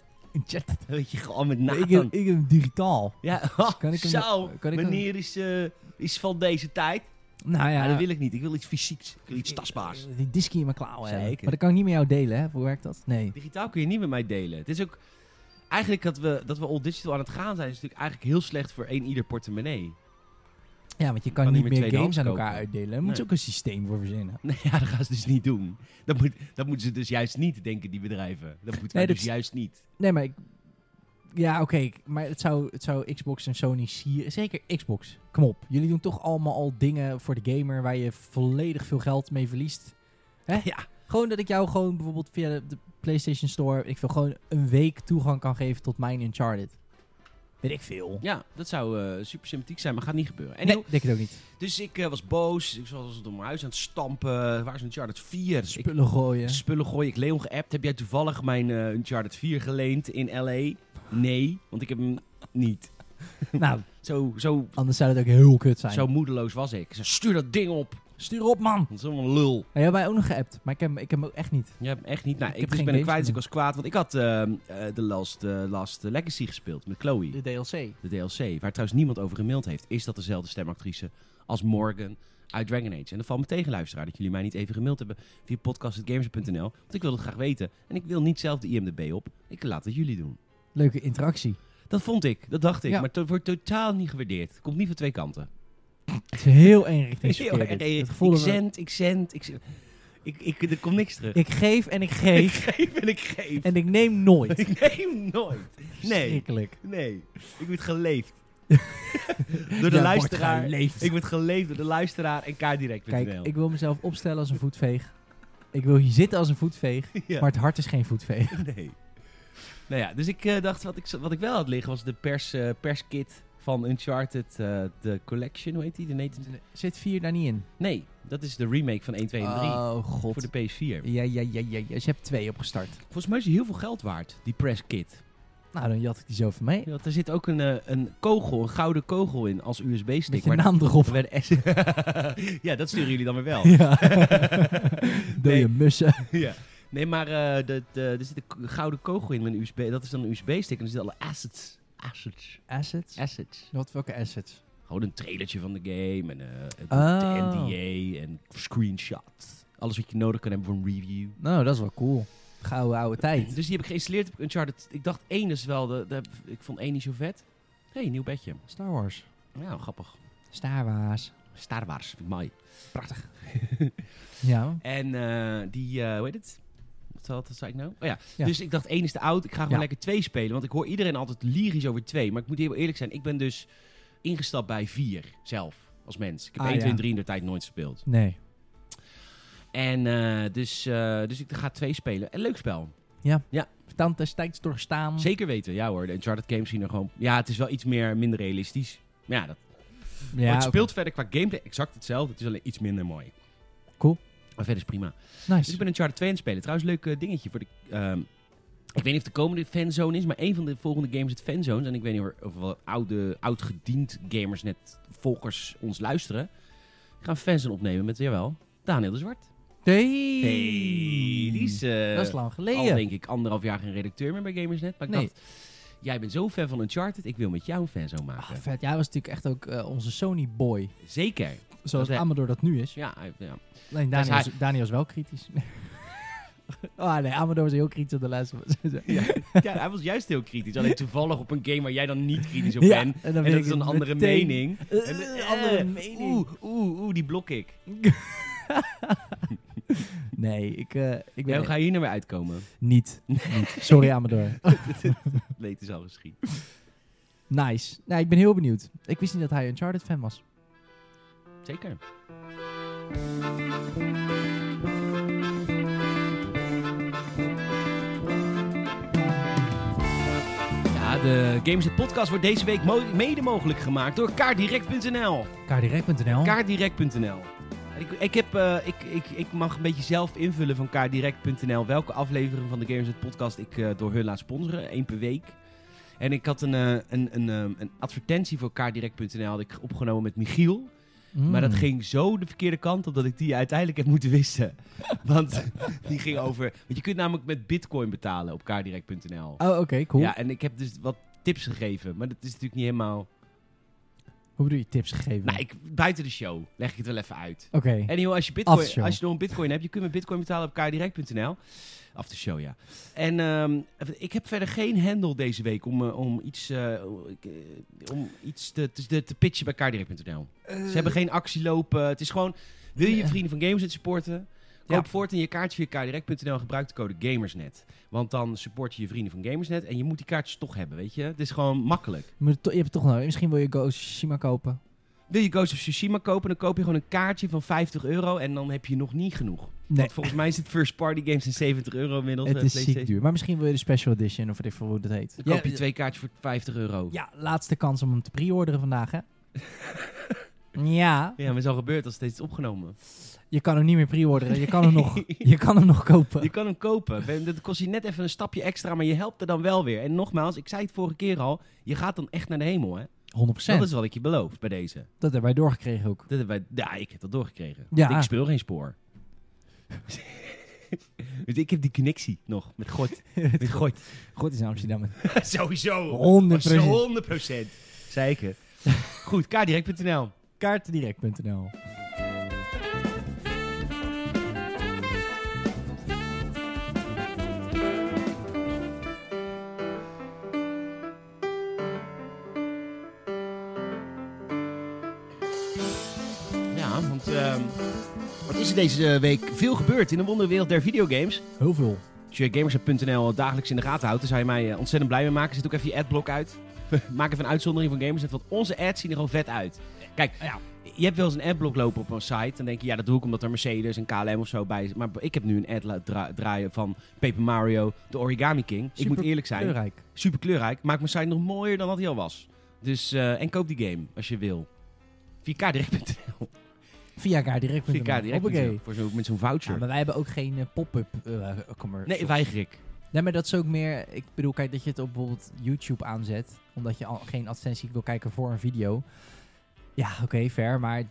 A: Weet je, gewoon met
B: Ik
A: Nathan.
B: heb, ik heb hem digitaal.
A: Ja,
B: Dus
A: oh,
B: Kan ik hem-
A: zo.
B: kan ik hem-
A: Meneer is, eh, is van deze tijd.
B: Nou ja.
A: Maar dat wil ik niet. Ik wil iets fysieks. Ik wil iets tastbaars.
B: Die disc in mijn klauwen. hebben.
A: Zeker.
B: Maar dat kan ik niet met jou delen, hè? Hoe werkt dat? Nee.
A: Digitaal kun je niet met mij delen. Het is ook... Eigenlijk dat we, dat we all digital aan het gaan zijn... is natuurlijk eigenlijk heel slecht voor één ieder portemonnee.
B: Ja, want je kan,
A: niet
B: niet
A: meer
B: meer
A: tweedehands
B: games aan
A: kopen.
B: elkaar uitdelen. Daar moet je
A: Nee.
B: ook een systeem voor verzinnen.
A: Nee, ja, dat gaan ze dus niet doen. Dat, moet, dat moeten ze dus juist niet, denken die bedrijven. Dat moeten wij
B: Nee, dat
A: dus
B: is-
A: juist niet.
B: Nee, maar ik... Ja, oké. ik- maar het zou, het zou Xbox en Sony sieren. Zeker Xbox. Kom op. Jullie doen toch allemaal al dingen voor de gamer waar je volledig veel geld mee verliest. Hè?
A: Ja.
B: Gewoon dat ik jou gewoon bijvoorbeeld via de, de PlayStation Store... Ik wil gewoon een week toegang kan geven tot mijn Uncharted. Weet ik veel.
A: Ja, dat zou eh, super sympathiek zijn, maar gaat niet gebeuren. En
B: nee, denk het ook niet.
A: Dus ik eh, was boos. Ik was door mijn huis aan het stampen. Waar is Uncharted 4? Ik,
B: Spullen gooien.
A: spullen gooi ik Leon geappt. Heb jij toevallig mijn eh, Uncharted 4 geleend in L.A.? Nee, want ik heb hem niet.
B: nou,
A: Zo, zo,
B: anders zou het ook heel kut zijn.
A: zo moedeloos was ik. Ik zei, stuur dat ding op.
B: Stuur op, man!
A: Dat is helemaal een lul.
B: Hij hebt mij ook nog geappt, maar ik heb, hem- ik heb hem ook echt niet.
A: Je hebt hem echt niet. Nou,
B: Ik
A: ik,
B: heb
A: dus
B: geen
A: ben hem
B: games
A: kwijt, dus ik
B: meer.
A: was kwaad. Want ik had ehm, eh, de Last, eh, Last Legacy gespeeld met Chloe,
B: De DLC.
A: de DLC. Waar trouwens niemand over gemaild heeft. Is dat dezelfde stemactrice als Morgan uit Dragon Age? En dan valt me tegen, luisteraar, dat jullie mij niet even gemaild hebben via podcast.gamers.nl. Want ik wil het graag weten. En ik wil niet zelf de IMDB op. Ik laat het jullie doen.
B: Leuke interactie.
A: Dat vond ik, dat dacht ik.
B: Ja.
A: Maar het wordt totaal niet gewaardeerd. Komt niet van twee kanten.
B: Het is heel eenrichtingsverkeer.
A: Heel erg.
B: dit.
A: Ik
B: Het gevoel dat we-
A: zend, ik zend, ik zend. Ik, ik, er komt niks terug.
B: Ik geef en ik
A: ik
B: geef
A: geef en ik geef.
B: en ik neem nooit.
A: Ik neem nooit. Nee,
B: Schrikkelijk.
A: nee. Ik word geleefd. door
B: wordt
A: de luisteraar.
B: geleefd.
A: Ik word geleefd door de luisteraar en kaardirect.nl.
B: Kijk, ik wil mezelf opstellen als een voetveeg. Ik wil hier zitten als een voetveeg,
A: Ja,
B: maar het hart is geen voetveeg.
A: nee. Nou ja, dus ik eh, dacht, wat ik, wat ik wel had liggen was de pers, eh, perskit van Uncharted, eh, de collection, hoe heet die? De Nathan-
B: Zit 4 daar niet in?
A: Nee, dat is de remake van 1, 2 en 3.
B: Oh god.
A: Voor de PS4.
B: Ja, ja, ja, ja, ja. Dus je hebt 2 opgestart.
A: Volgens mij is die heel veel geld waard, die presskit.
B: Nou, dan jat ik die zo van mee.
A: Want er zit ook een, eh, een kogel, een gouden kogel in als
B: Met
A: USB-stick.
B: je naam erop.
A: Of een S. ja, dat sturen jullie dan weer wel.
B: Ja. Doe je
A: Nee.
B: mussen.
A: ja. Nee, maar eh, dat, eh, er zit een k- gouden kogel in met een USB. Dat is dan een USB-stick en er zitten alle assets. Assets.
B: Assets?
A: Assets.
B: Wat, welke assets?
A: Gewoon een trailertje van de game en eh, het-
B: Oh.
A: de NDA en screenshots. Alles wat je nodig kan hebben voor een review.
B: Nou, dat is wel cool. Gouden oude tijd.
A: Dus die heb ik geïnstalleerd op Uncharted. Ik dacht één is wel, de, de- ik vond één niet zo vet. Hé, hey, nieuw bedje.
B: Star Wars.
A: Ja, grappig.
B: Star Wars.
A: Star Wars, vind ik mooi. Prachtig.
B: Ja.
A: En eh, die, eh, hoe heet het? Wat, wat, wat zei ik nou? Oh ja.
B: Ja.
A: dus ik dacht één is te oud. Ik ga gewoon
B: Ja.
A: lekker twee spelen. Want ik hoor iedereen altijd lyrisch over twee. Maar ik moet heel eerlijk zijn. Ik ben dus ingestapt bij 4 zelf, als mens. Ik heb
B: Ah,
A: 1, 2
B: ja.
A: 3 in de tijd nooit gespeeld.
B: Nee.
A: En eh, dus, eh, dus ik ga 2 spelen. En leuk spel.
B: Dan destijds doorstaan.
A: Zeker weten, ja hoor. De Uncharted games zien er gewoon... Ja, het is wel iets meer, minder realistisch. Maar ja, dat,
B: Ja,
A: maar het
B: oké.
A: speelt verder qua gameplay exact hetzelfde. Het is alleen iets minder mooi.
B: Cool.
A: Maar verder is prima. Dus ik
B: Nice.
A: ben Uncharted 2 aan het spelen. Trouwens, leuk eh, dingetje voor de... ehm, ik weet niet of de komende fanzone is, maar een van de volgende games het fanzones. En ik weet niet hoor, of wel oude, oud gediend gamers, net volgers, ons luisteren. Ik ga een fanzone opnemen met, jawel, Daniel de Zwart.
B: Hey.
A: die is... eh,
B: dat is lang
A: al
B: geleden.
A: denk ik anderhalf jaar geen redacteur meer bij Gamersnet. Maar ik
B: Nee.
A: dacht, jij bent zo fan van Uncharted, ik wil met jou een fan zo maken.
B: Ah, vet. Jij was natuurlijk echt ook eh, onze Sony boy.
A: Zeker.
B: Zoals
A: Dat-
B: Amador dat nu is.
A: Ja, hij- ja.
B: Alleen
A: Dat is
B: Daniel, is, Daniel is wel kritisch. oh nee, Amador is heel kritisch op de laatste.
A: Ja, hij was juist heel kritisch. Alleen toevallig op een game waar jij dan niet kritisch op
B: Ja,
A: bent.
B: en dan
A: En
B: vind
A: dat
B: ik
A: is een
B: het
A: andere
B: meteen-
A: mening.
B: Eh,
A: En de-
B: andere
A: eh,
B: mening.
A: Oeh, oeh, oeh, die blok ik.
B: Nee, ik, eh, ik
A: Ja,
B: ben
A: hoe ga je hier nou weer uitkomen?
B: niet, niet. Sorry Amador.
A: Leed is al geschied.
B: Nice. Nou, ik ben heel benieuwd. Ik wist niet dat hij een Uncharted fan was.
A: Zeker. Ja, de Games Het Podcast wordt deze week mo- mede mogelijk gemaakt door kaardirect.nl.
B: Kaardirect.nl.
A: Kaardirect.nl. Ik, ik, heb, eh, ik, ik, ik mag een beetje zelf invullen van kaardirect.nl welke aflevering van de Games Het Podcast ik eh, door hun laat sponsoren, één per week. En ik had een, eh, een, een, eh, een advertentie voor kaardirect.nl had ik opgenomen met Michiel.
B: Mm.
A: Maar dat ging zo de verkeerde kant op dat ik die uiteindelijk heb moeten wissen. Want die ging over. Want je kunt namelijk met bitcoin betalen op kaardirect.nl.
B: Oh, oké, cool.
A: Ja, en ik heb dus wat tips gegeven. Maar dat is natuurlijk niet helemaal.
B: Hoe bedoel je tips gegeven?
A: Nou, ik, buiten de show leg ik het wel even uit.
B: Oké.
A: En joh, als je,
B: Af de
A: bitcoin,
B: show.
A: als je nog een bitcoin hebt, je kunt met bitcoin betalen op kaardirect.nl. Af de show, ja. En ehm, ik heb verder geen handle deze week om, eh, om iets, eh, om iets te, te, te pitchen bij kaardirect.nl.
B: Eh.
A: Ze hebben geen actie lopen. Het is gewoon, wil je je vrienden van Gamersnet supporten? Koop
B: Ja.
A: voort in je kaartje via kaardirect.nl en gebruik de code Gamersnet. Want dan support je je vrienden van Gamersnet en je moet die kaartjes toch hebben, weet je. Het is gewoon makkelijk.
B: Je, moet het to- je hebt het toch nodig. Misschien wil je Ghost Shima kopen.
A: Wil je Ghost of Tsushima kopen, dan koop je gewoon een kaartje van 50 euro en dan heb je nog niet genoeg.
B: Nee,
A: Want volgens mij is het first party games in 70 euro inmiddels.
B: het
A: eh,
B: is
A: PlayStation.
B: ziek duur. Maar misschien wil je de special edition of wat ik voor hoe dat heet.
A: Dan koop je
B: ja,
A: twee kaartjes voor 50 euro. Ja,
B: ja, laatste kans om hem te pre-orderen vandaag, hè? ja,
A: maar het is al gebeurd als het steeds is opgenomen.
B: je kan hem niet meer pre-orderen. Je kan hem nog, je kan hem nog kopen.
A: Je kan hem kopen. Ben- Dat kost je net even een stapje extra, maar je helpt er dan wel weer. En nogmaals, ik zei het vorige keer al, je gaat dan echt naar de hemel, hè?
B: 100%.
A: Dat is wat ik je beloof bij deze.
B: Dat hebben wij doorgekregen ook.
A: Dat hebben wij, ja, ik heb dat doorgekregen.
B: Ja.
A: Want Ik speel geen spoor. dus ik heb die connectie nog met God. Met God.
B: Goed is Amsterdam. 100%.
A: Sowieso. 100 procent. Zeker. Goed, kaardirect.nl.
B: Kaartendirect.nl.
A: Ja, want ehm, wat is er deze eh, week veel gebeurd in de wonderwereld der videogames?
B: Heel veel.
A: Als je gamersnet.nl dagelijks in de gaten houdt, dan zou je mij eh, ontzettend blij mee maken. Zet ook even je adblock uit. Maak even een uitzondering van gamers, want onze ads zien er gewoon vet uit. Kijk,
B: Ja.
A: je hebt wel eens een adblock lopen op een site. Dan denk je, ja, dat doe ik omdat er Mercedes en KLM of zo bij is. Maar ik heb nu een ad la- dra- draaien van Paper Mario, de Origami King. ik moet
B: Super
A: eerlijk zijn,
B: Kleurrijk.
A: super kleurrijk. Maak mijn site nog mooier dan dat hij al was. Dus, eh, en koop die game als je wil. Via kaardirect.nl.
B: Via kaardirect.nl.
A: Via kaardirect.nl.
B: Hoppakee.
A: Voor zo, met zo'n
B: Ja,
A: voucher.
B: maar wij hebben ook geen eh, pop-up eh commercial.
A: nee, weiger ik.
B: Nee, maar dat is ook meer... Ik bedoel, kijk, dat je het op bijvoorbeeld YouTube aanzet. Omdat je al geen advertentie wil kijken voor een video. Ja, oké, fair. Maar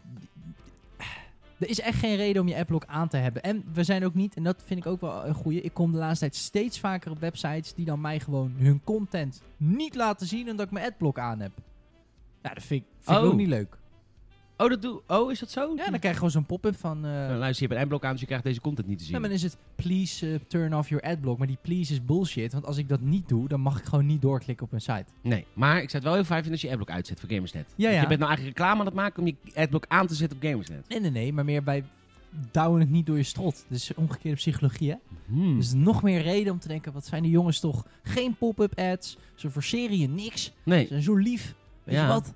B: er is echt geen reden om je adblock aan te hebben. En we zijn ook niet, en dat vind ik ook wel een goeie... Ik kom de laatste tijd steeds vaker op websites die dan mij gewoon hun content niet laten zien... omdat ik mijn adblock aan heb. Nou, dat vind ik, vind ik
A: Oh.
B: ook niet leuk.
A: Oh, dat doe, oh, is dat zo?
B: Ja, dan krijg je gewoon zo'n pop-up van... eh,
A: Nou, luister, je hebt een adblock aan, dus je krijgt deze content niet te zien.
B: Ja, maar dan is het please eh, turn off your adblock. Maar die please is bullshit. Want als ik dat niet doe, dan mag ik gewoon niet doorklikken op een site.
A: Nee, maar ik zou het wel heel fijn vinden als je adblock uitzet voor Gamersnet.
B: Ja,
A: Want
B: ja.
A: Je bent nou eigenlijk reclame aan het maken om je adblock aan te zetten op Gamersnet.
B: Nee, nee, nee. Maar meer bij douwen het niet door je strot. Dus omgekeerde psychologie, hè?
A: Hmm.
B: Dus nog meer reden om te denken, wat zijn die jongens toch? Geen pop-up ads. Ze forceren je niks. Ze
A: Nee,
B: zijn zo lief. Weet
A: Ja.
B: je wat?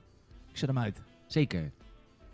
B: Ik zet hem uit.
A: Zeker.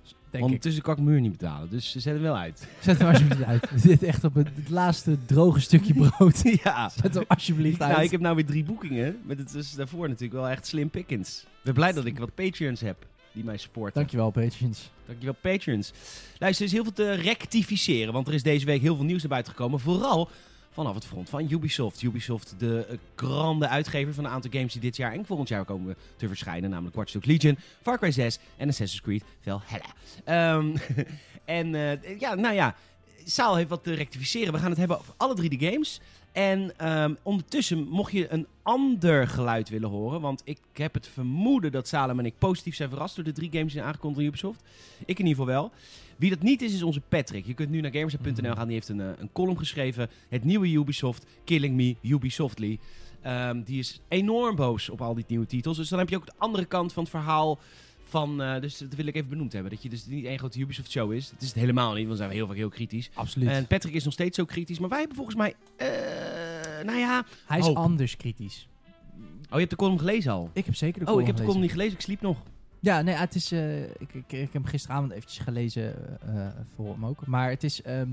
B: Denk ik.
A: Ondertussen kan ik mijn muur niet betalen, dus ze zetten hem wel uit.
B: Zet hem alsjeblieft uit. Dit echt op het, het laatste droge stukje brood.
A: ja.
B: Zet hem alsjeblieft uit.
A: Nou, ik heb nou weer drie boekingen. Maar het is daarvoor natuurlijk wel echt slim pickings. Ik ben blij dat ik wat Patreons heb die mij supporten.
B: Dankjewel, Patience.
A: Dankjewel, patrons. Luister, er is heel veel te rectificeren, want er is deze week heel veel nieuws naar buiten gekomen. Vooral vanaf het front van Ubisoft. Ubisoft, de eh, grande uitgever van een aantal games die dit jaar en volgend jaar komen te verschijnen. Namelijk Watch Dogs Legion, Far Cry 6 en Assassin's Creed Valhalla. Ehm en eh, ja, nou ja, Saal heeft wat te rectificeren. We gaan het hebben over alle drie de games. En ehm, ondertussen mocht je een ander geluid willen horen, want ik heb het vermoeden dat Salem en ik positief zijn verrast door de drie games die zijn aangekondigd door Ubisoft. Ik in ieder geval wel. Wie dat niet is, is onze Patrick. Je kunt nu naar gamershub.nl gaan. Die heeft een, eh, een column geschreven. Het nieuwe Ubisoft, Killing Me, Ubisoftly. Ehm, die is enorm boos op al die nieuwe titels. Dus dan heb je ook de andere kant van het verhaal. Van, eh, dus dat wil ik even benoemd hebben. Dat je dus niet één grote Ubisoft-show is. Dat is het helemaal niet, want dan zijn we heel vaak heel kritisch.
B: Absoluut.
A: En Patrick is nog steeds zo kritisch. Maar wij hebben volgens mij... eh, nou ja...
B: Hij is
A: hoop.
B: anders kritisch.
A: Oh, je hebt de column gelezen al?
B: Ik heb zeker de
A: Oh, ik heb de
B: column
A: column
B: gelezen.
A: niet gelezen. Ik sliep nog.
B: Ja, nee, het is. eh, ik, ik, ik heb hem gisteravond eventjes gelezen eh, eh, voor hem ook. Maar het is. ehm,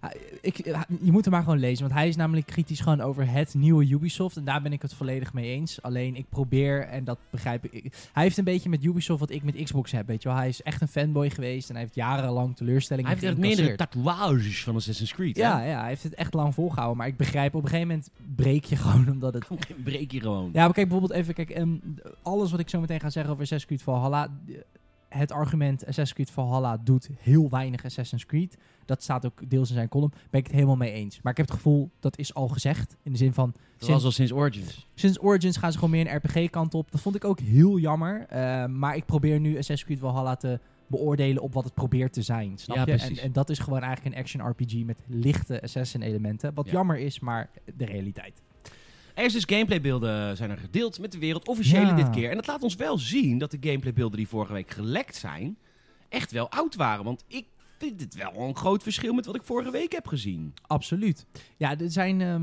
B: ah, ik, eh, je moet hem maar gewoon lezen, want hij is namelijk kritisch gewoon over het nieuwe Ubisoft. En daar ben ik het volledig mee eens. Alleen ik probeer, en dat begrijp ik. ik- Hij heeft een beetje met Ubisoft wat ik met Xbox heb, weet je wel. Hij is echt een fanboy geweest en hij heeft jarenlang teleurstellingen
A: Hij heeft echt meerdere
B: geïncasseerd.
A: tatoeages van Assassin's Creed. hè?
B: Ja, ja, hij heeft het echt lang volgehouden. Maar ik begrijp, op een gegeven moment breek je gewoon omdat het
A: Breek je gewoon.
B: ja, maar kijk bijvoorbeeld even, kijk, ehm, alles wat ik zo meteen ga zeggen over Assassin's Creed Valhalla, eh, het argument Assassin's Creed Valhalla doet heel weinig Assassin's Creed, dat staat ook deels in zijn column, ben ik het helemaal mee eens. Maar ik heb het gevoel, dat is al gezegd, in de zin van,
A: Dat was al sinds Origins.
B: sinds Origins gaan ze gewoon meer een RPG-kant op. Dat vond ik ook heel jammer, eh, maar ik probeer nu Assassin's Creed Valhalla te beoordelen op wat het probeert te zijn, snap
A: Ja,
B: je? En,
A: precies.
B: en dat is gewoon eigenlijk een action RPG met lichte assassin-elementen, wat
A: Ja.
B: jammer is, maar de realiteit.
A: Er is dus gameplaybeelden zijn er gedeeld met de wereld, officiële
B: Ja.
A: dit keer. En dat laat ons wel zien dat de gameplaybeelden die vorige week gelekt zijn, echt wel oud waren. Want ik vind het wel een groot verschil met wat ik vorige week heb gezien.
B: Absoluut. Ja, er zijn. ehm,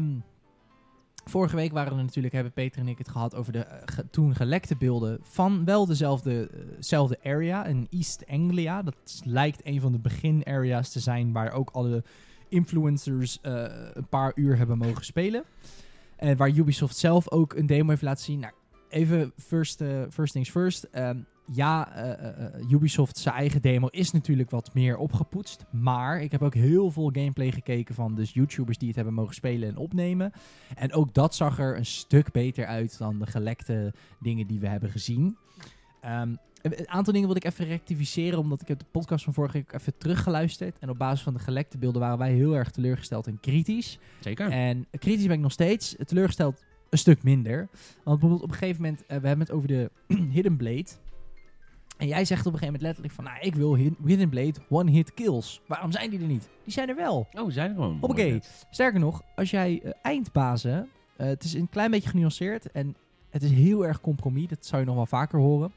B: vorige week waren we natuurlijk, hebben Peter en ik het gehad over de eh, ge- toen gelekte beelden van wel dezelfde eh, zelfde area in East Anglia. Dat s- lijkt een van de begin areas te zijn waar ook alle influencers eh, een paar uur hebben mogen spelen. En waar Ubisoft zelf ook een demo heeft laten zien. Nou, even first, eh, first things first. Ehm, ja, eh, eh, eh, Ubisoft zijn eigen demo is natuurlijk wat meer opgepoetst. Maar ik heb ook heel veel gameplay gekeken van dus YouTubers die het hebben mogen spelen en opnemen. En ook dat zag er een stuk beter uit dan de gelekte dingen die we hebben gezien. Ehm, een een aantal dingen wil ik even rectificeren, omdat ik heb de podcast van vorige week even teruggeluisterd. En op basis van de gelekte beelden waren wij heel erg teleurgesteld en kritisch.
A: Zeker.
B: En kritisch ben ik nog steeds. Teleurgesteld een stuk minder. Want bijvoorbeeld op een gegeven moment, eh, we hebben het over de Hidden Blade. En jij zegt op een gegeven moment letterlijk van, nou, ik wil Hid- Hidden Blade one-hit kills. Waarom zijn die er niet? Die zijn er wel.
A: Oh, we zijn er gewoon.
B: Hoppakee. Sterker nog, als jij eh, eindbazen. eh, het is een klein beetje genuanceerd en het is heel erg compromis. Dat zou je nog wel vaker horen.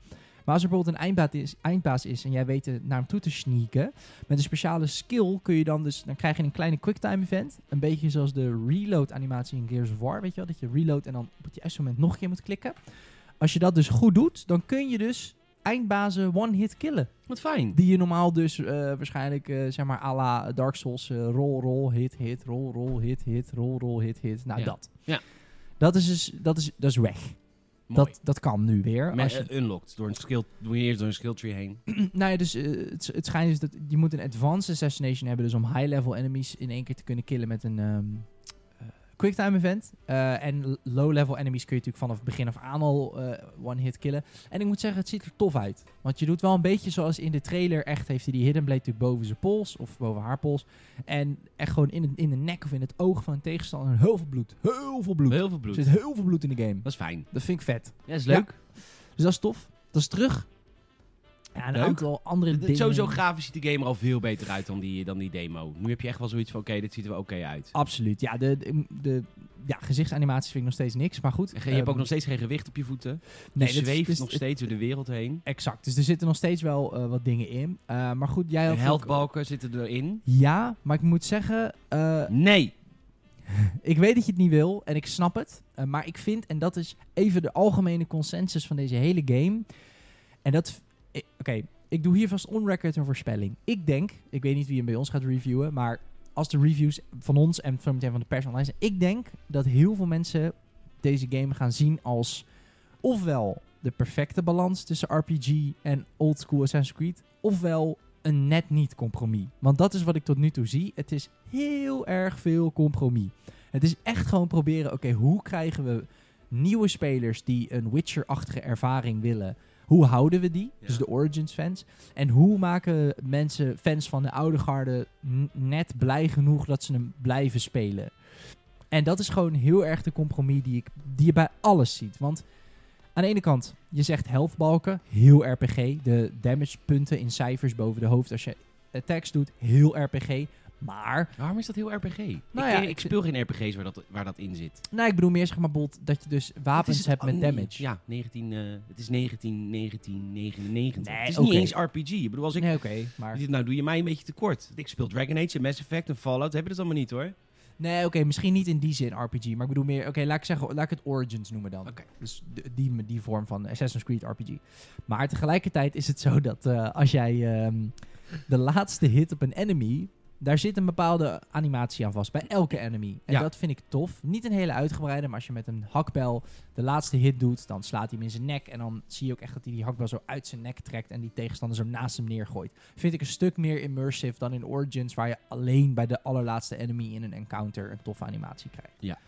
B: Maar als er bijvoorbeeld een eindbaas is, eindbaas is en jij weet er naar hem toe te sneaken. Met een speciale skill kun je dan dus. Dan krijg je een kleine quicktime event. Een beetje zoals de reload animatie in Gears of War. Weet je wel? Dat je reload en dan op het juiste moment nog een keer moet klikken. Als je dat dus goed doet, dan kun je dus eindbazen one-hit killen.
A: Wat fijn.
B: Die je normaal dus eh, waarschijnlijk, eh, zeg maar, à la Dark Souls, eh roll, roll, hit, hit, roll, roll, hit, hit, roll, roll, hit, hit. Nou,
A: Ja.
B: dat.
A: Ja.
B: Dat is dus, dat is, dat is weg.
A: Mooi.
B: Dat, dat kan nu weer.
A: Men-
B: Als je,
A: eh, unlocked. Door een skill, doe je eerst door een skill tree heen.
B: nou ja, dus eh, het, het schijnt dus dat je moet een advanced assassination hebben, dus om high-level enemies in één keer te kunnen killen met een ehm, eh, quicktime event. Eh, en l- low-level enemies kun je natuurlijk vanaf begin af aan al eh, one-hit killen. En ik moet zeggen, het ziet er tof uit. Want je doet wel een beetje zoals in de trailer. Echt heeft hij die hidden blade natuurlijk boven zijn pols of boven haar pols. En echt gewoon in, het- in de nek of in het oog van een tegenstander heel veel bloed. Heel veel bloed.
A: Heel veel bloed.
B: Er zit heel veel bloed in de game.
A: Dat is fijn.
B: Dat vind ik vet.
A: Ja, is leuk.
B: Dus dat is tof. Dat is terug. Ja, en een
A: Leuk.
B: aantal andere
A: Het- het-
B: dingen.
A: Sowieso grafisch ziet de game er al veel beter uit dan die, dan die demo. Nu heb je echt wel zoiets van, oké, dit ziet er wel oké uit.
B: Absoluut. Ja, de, de, de- ja, gezichtsanimaties vind ik nog steeds niks. Maar goed.
A: En Je hebt ook
B: ehm,
A: nog steeds geen gewicht op je voeten.
B: nee,
A: je
B: dat is-
A: zweeft
B: dus-
A: nog steeds door de wereld heen.
B: Exact. Dus er zitten nog steeds wel eh, wat dingen in. Eh, maar goed, jij
A: En
B: had...
A: healthbalken zitten erin.
B: Ja, maar ik moet zeggen... eh,
A: Nee.
B: ik weet dat je het niet wil en ik snap het. eh, maar ik vind, en dat is even de algemene consensus van deze hele game. En dat, v- ik doe hier vast on record een voorspelling. Ik denk, ik weet niet wie hem bij ons gaat reviewen, maar als de reviews van ons en van meteen van de pers online zijn, ik denk dat heel veel mensen deze game gaan zien als ofwel de perfecte balans tussen RPG en old school Assassin's Creed, ofwel een net niet compromis. Want dat is wat ik tot nu toe zie. Het is heel erg veel compromis. Het is echt gewoon proberen, oké, hoe krijgen we nieuwe spelers die een Witcher-achtige ervaring willen, hoe houden we die?
A: Ja.
B: Dus de Origins fans. En hoe maken mensen, fans van de oude garde, n- net blij genoeg dat ze hem blijven spelen? En dat is gewoon heel erg de compromis die, ik, die je bij alles ziet. Want aan de ene kant, je zegt healthbalken, heel RPG. De damage punten in cijfers boven de hoofd als je attacks doet, heel RPG. Maar
A: Waarom is dat heel RPG? ik,
B: Nou ja,
A: ken-
B: ik
A: ik
B: vind-
A: speel geen RPG's waar dat, waar dat in zit.
B: Nou, ik bedoel meer zeg maar bijvoorbeeld dat je dus
A: Het
B: wapens
A: is-
B: hebt met
A: oh,
B: damage.
A: Ja, 19, eh, het is 19, 19, 99.
B: Nee,
A: het is
B: oké.
A: niet eens RPG. Ik bedoel, als ik...
B: nee, oké, maar...
A: Nou doe je mij een beetje tekort. Ik speel Dragon Age en Mass Effect en Fallout. Heb je dat allemaal niet hoor.
B: Nee, oké, misschien niet in die zin RPG, maar ik bedoel meer... Oké, laat ik zeggen, laat ik het Origins noemen dan.
A: Oké.
B: Dus d- die, die vorm van Assassin's Creed RPG. Maar tegelijkertijd is het zo dat eh, als jij ehm, de laatste hit op een enemy... Daar zit een bepaalde animatie aan vast, bij elke enemy. En
A: Ja.
B: dat vind ik tof. Niet een hele uitgebreide, maar als je met een hakbel de laatste hit doet... dan slaat hij hem in zijn nek en dan zie je ook echt dat hij die hakbel zo uit zijn nek trekt... en die tegenstander zo naast hem neergooit. Vind ik een stuk meer immersive dan in Origins... waar je alleen bij de allerlaatste enemy in een encounter een toffe animatie krijgt.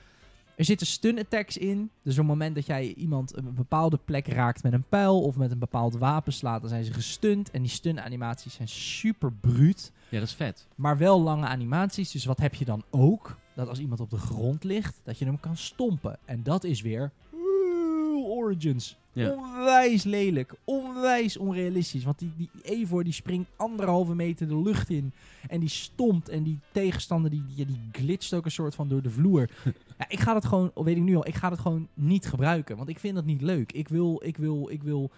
B: Er zitten stun attacks in. Dus op het moment dat jij iemand een bepaalde plek raakt met een pijl of met een bepaald wapen slaat, dan zijn ze gestunt. En die stun animaties zijn super bruut.
A: Ja, dat is vet.
B: Maar wel lange animaties. Dus wat heb je dan ook? Dat als iemand op de grond ligt, dat je hem kan stompen. En dat is weer. Oeh, Origins.
A: Ja.
B: Onwijs lelijk. Onwijs onrealistisch. Want die, die Eivor die springt anderhalve meter de lucht in. En die stompt. En die tegenstander die, die, die glitst ook een soort van door de vloer. Ja, ik ga dat gewoon, weet ik nu al, ik ga dat gewoon niet gebruiken. Want ik vind dat niet leuk. Ik wil, ik wil, ik wil.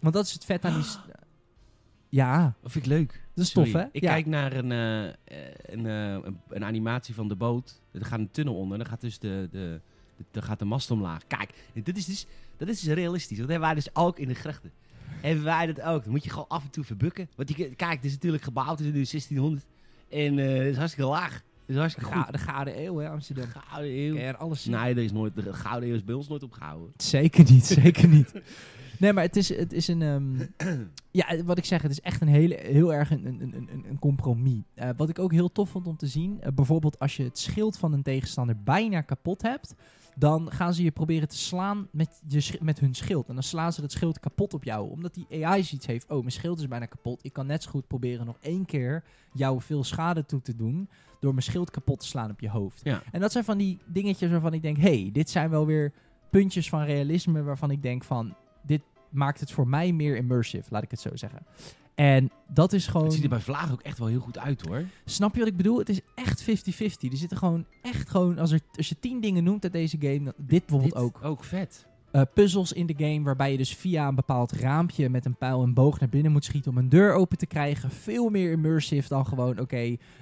B: Want dat is het vet aan die. s- Ja,
A: Dat vind ik leuk.
B: dat is tof, hè?
A: Ik
B: ja.
A: kijk naar een, eh, eh, een, eh, een, een animatie van de boot. Er gaat een tunnel onder. Dan gaat dus de, de, de, dan gaat de mast omlaag. Kijk, dit is dus, dat is dus realistisch. Dat hebben wij dus ook in de grachten. Hebben wij dat ook. Dan moet je gewoon af en toe verbukken. Want je, kijk, het is natuurlijk gebouwd. Het is nu 1600. En eh, het is hartstikke laag. Het is hartstikke
B: Ga-
A: goed.
B: de Gouden Eeuw, hè, Amsterdam.
A: Gouden eeuw. Nou,
B: En alles. zien.
A: Nee, er is nooit, de gouden eeuw is bij ons nooit opgehouden.
B: Zeker niet, zeker niet. Nee, maar het is, het is een. ehm, ja, wat ik zeg, het is echt een hele, heel erg een, een, een, een- een compromis. Eh, wat ik ook heel tof vond om te zien, eh, bijvoorbeeld als je het schild van een tegenstander bijna kapot hebt, dan gaan ze je proberen te slaan met, je, sch- met hun schild. En dan slaan ze dat schild kapot op jou, omdat die AI zoiets heeft. Oh, mijn schild is bijna kapot. Ik kan net zo goed proberen nog één keer jou veel schade toe te doen door mijn schild kapot te slaan op je hoofd.
A: Ja.
B: En dat zijn van die dingetjes waarvan ik denk, hey, dit zijn wel weer puntjes van realisme waarvan ik denk van... Dit maakt het voor mij meer immersive, laat ik het zo zeggen. En dat is gewoon...
A: Het ziet er bij Vlaag ook echt wel heel goed uit hoor.
B: Snap je wat ik bedoel? Het is echt 50-50. Er zitten gewoon echt gewoon... Als, er, als je tien dingen noemt uit deze game, dan, dit bijvoorbeeld
A: Dit
B: ook.
A: Ook vet.
B: Eh, puzzels in de game waarbij je dus via een bepaald raampje met een pijl en boog naar binnen moet schieten om een deur open te krijgen. Veel meer immersive dan gewoon, oké,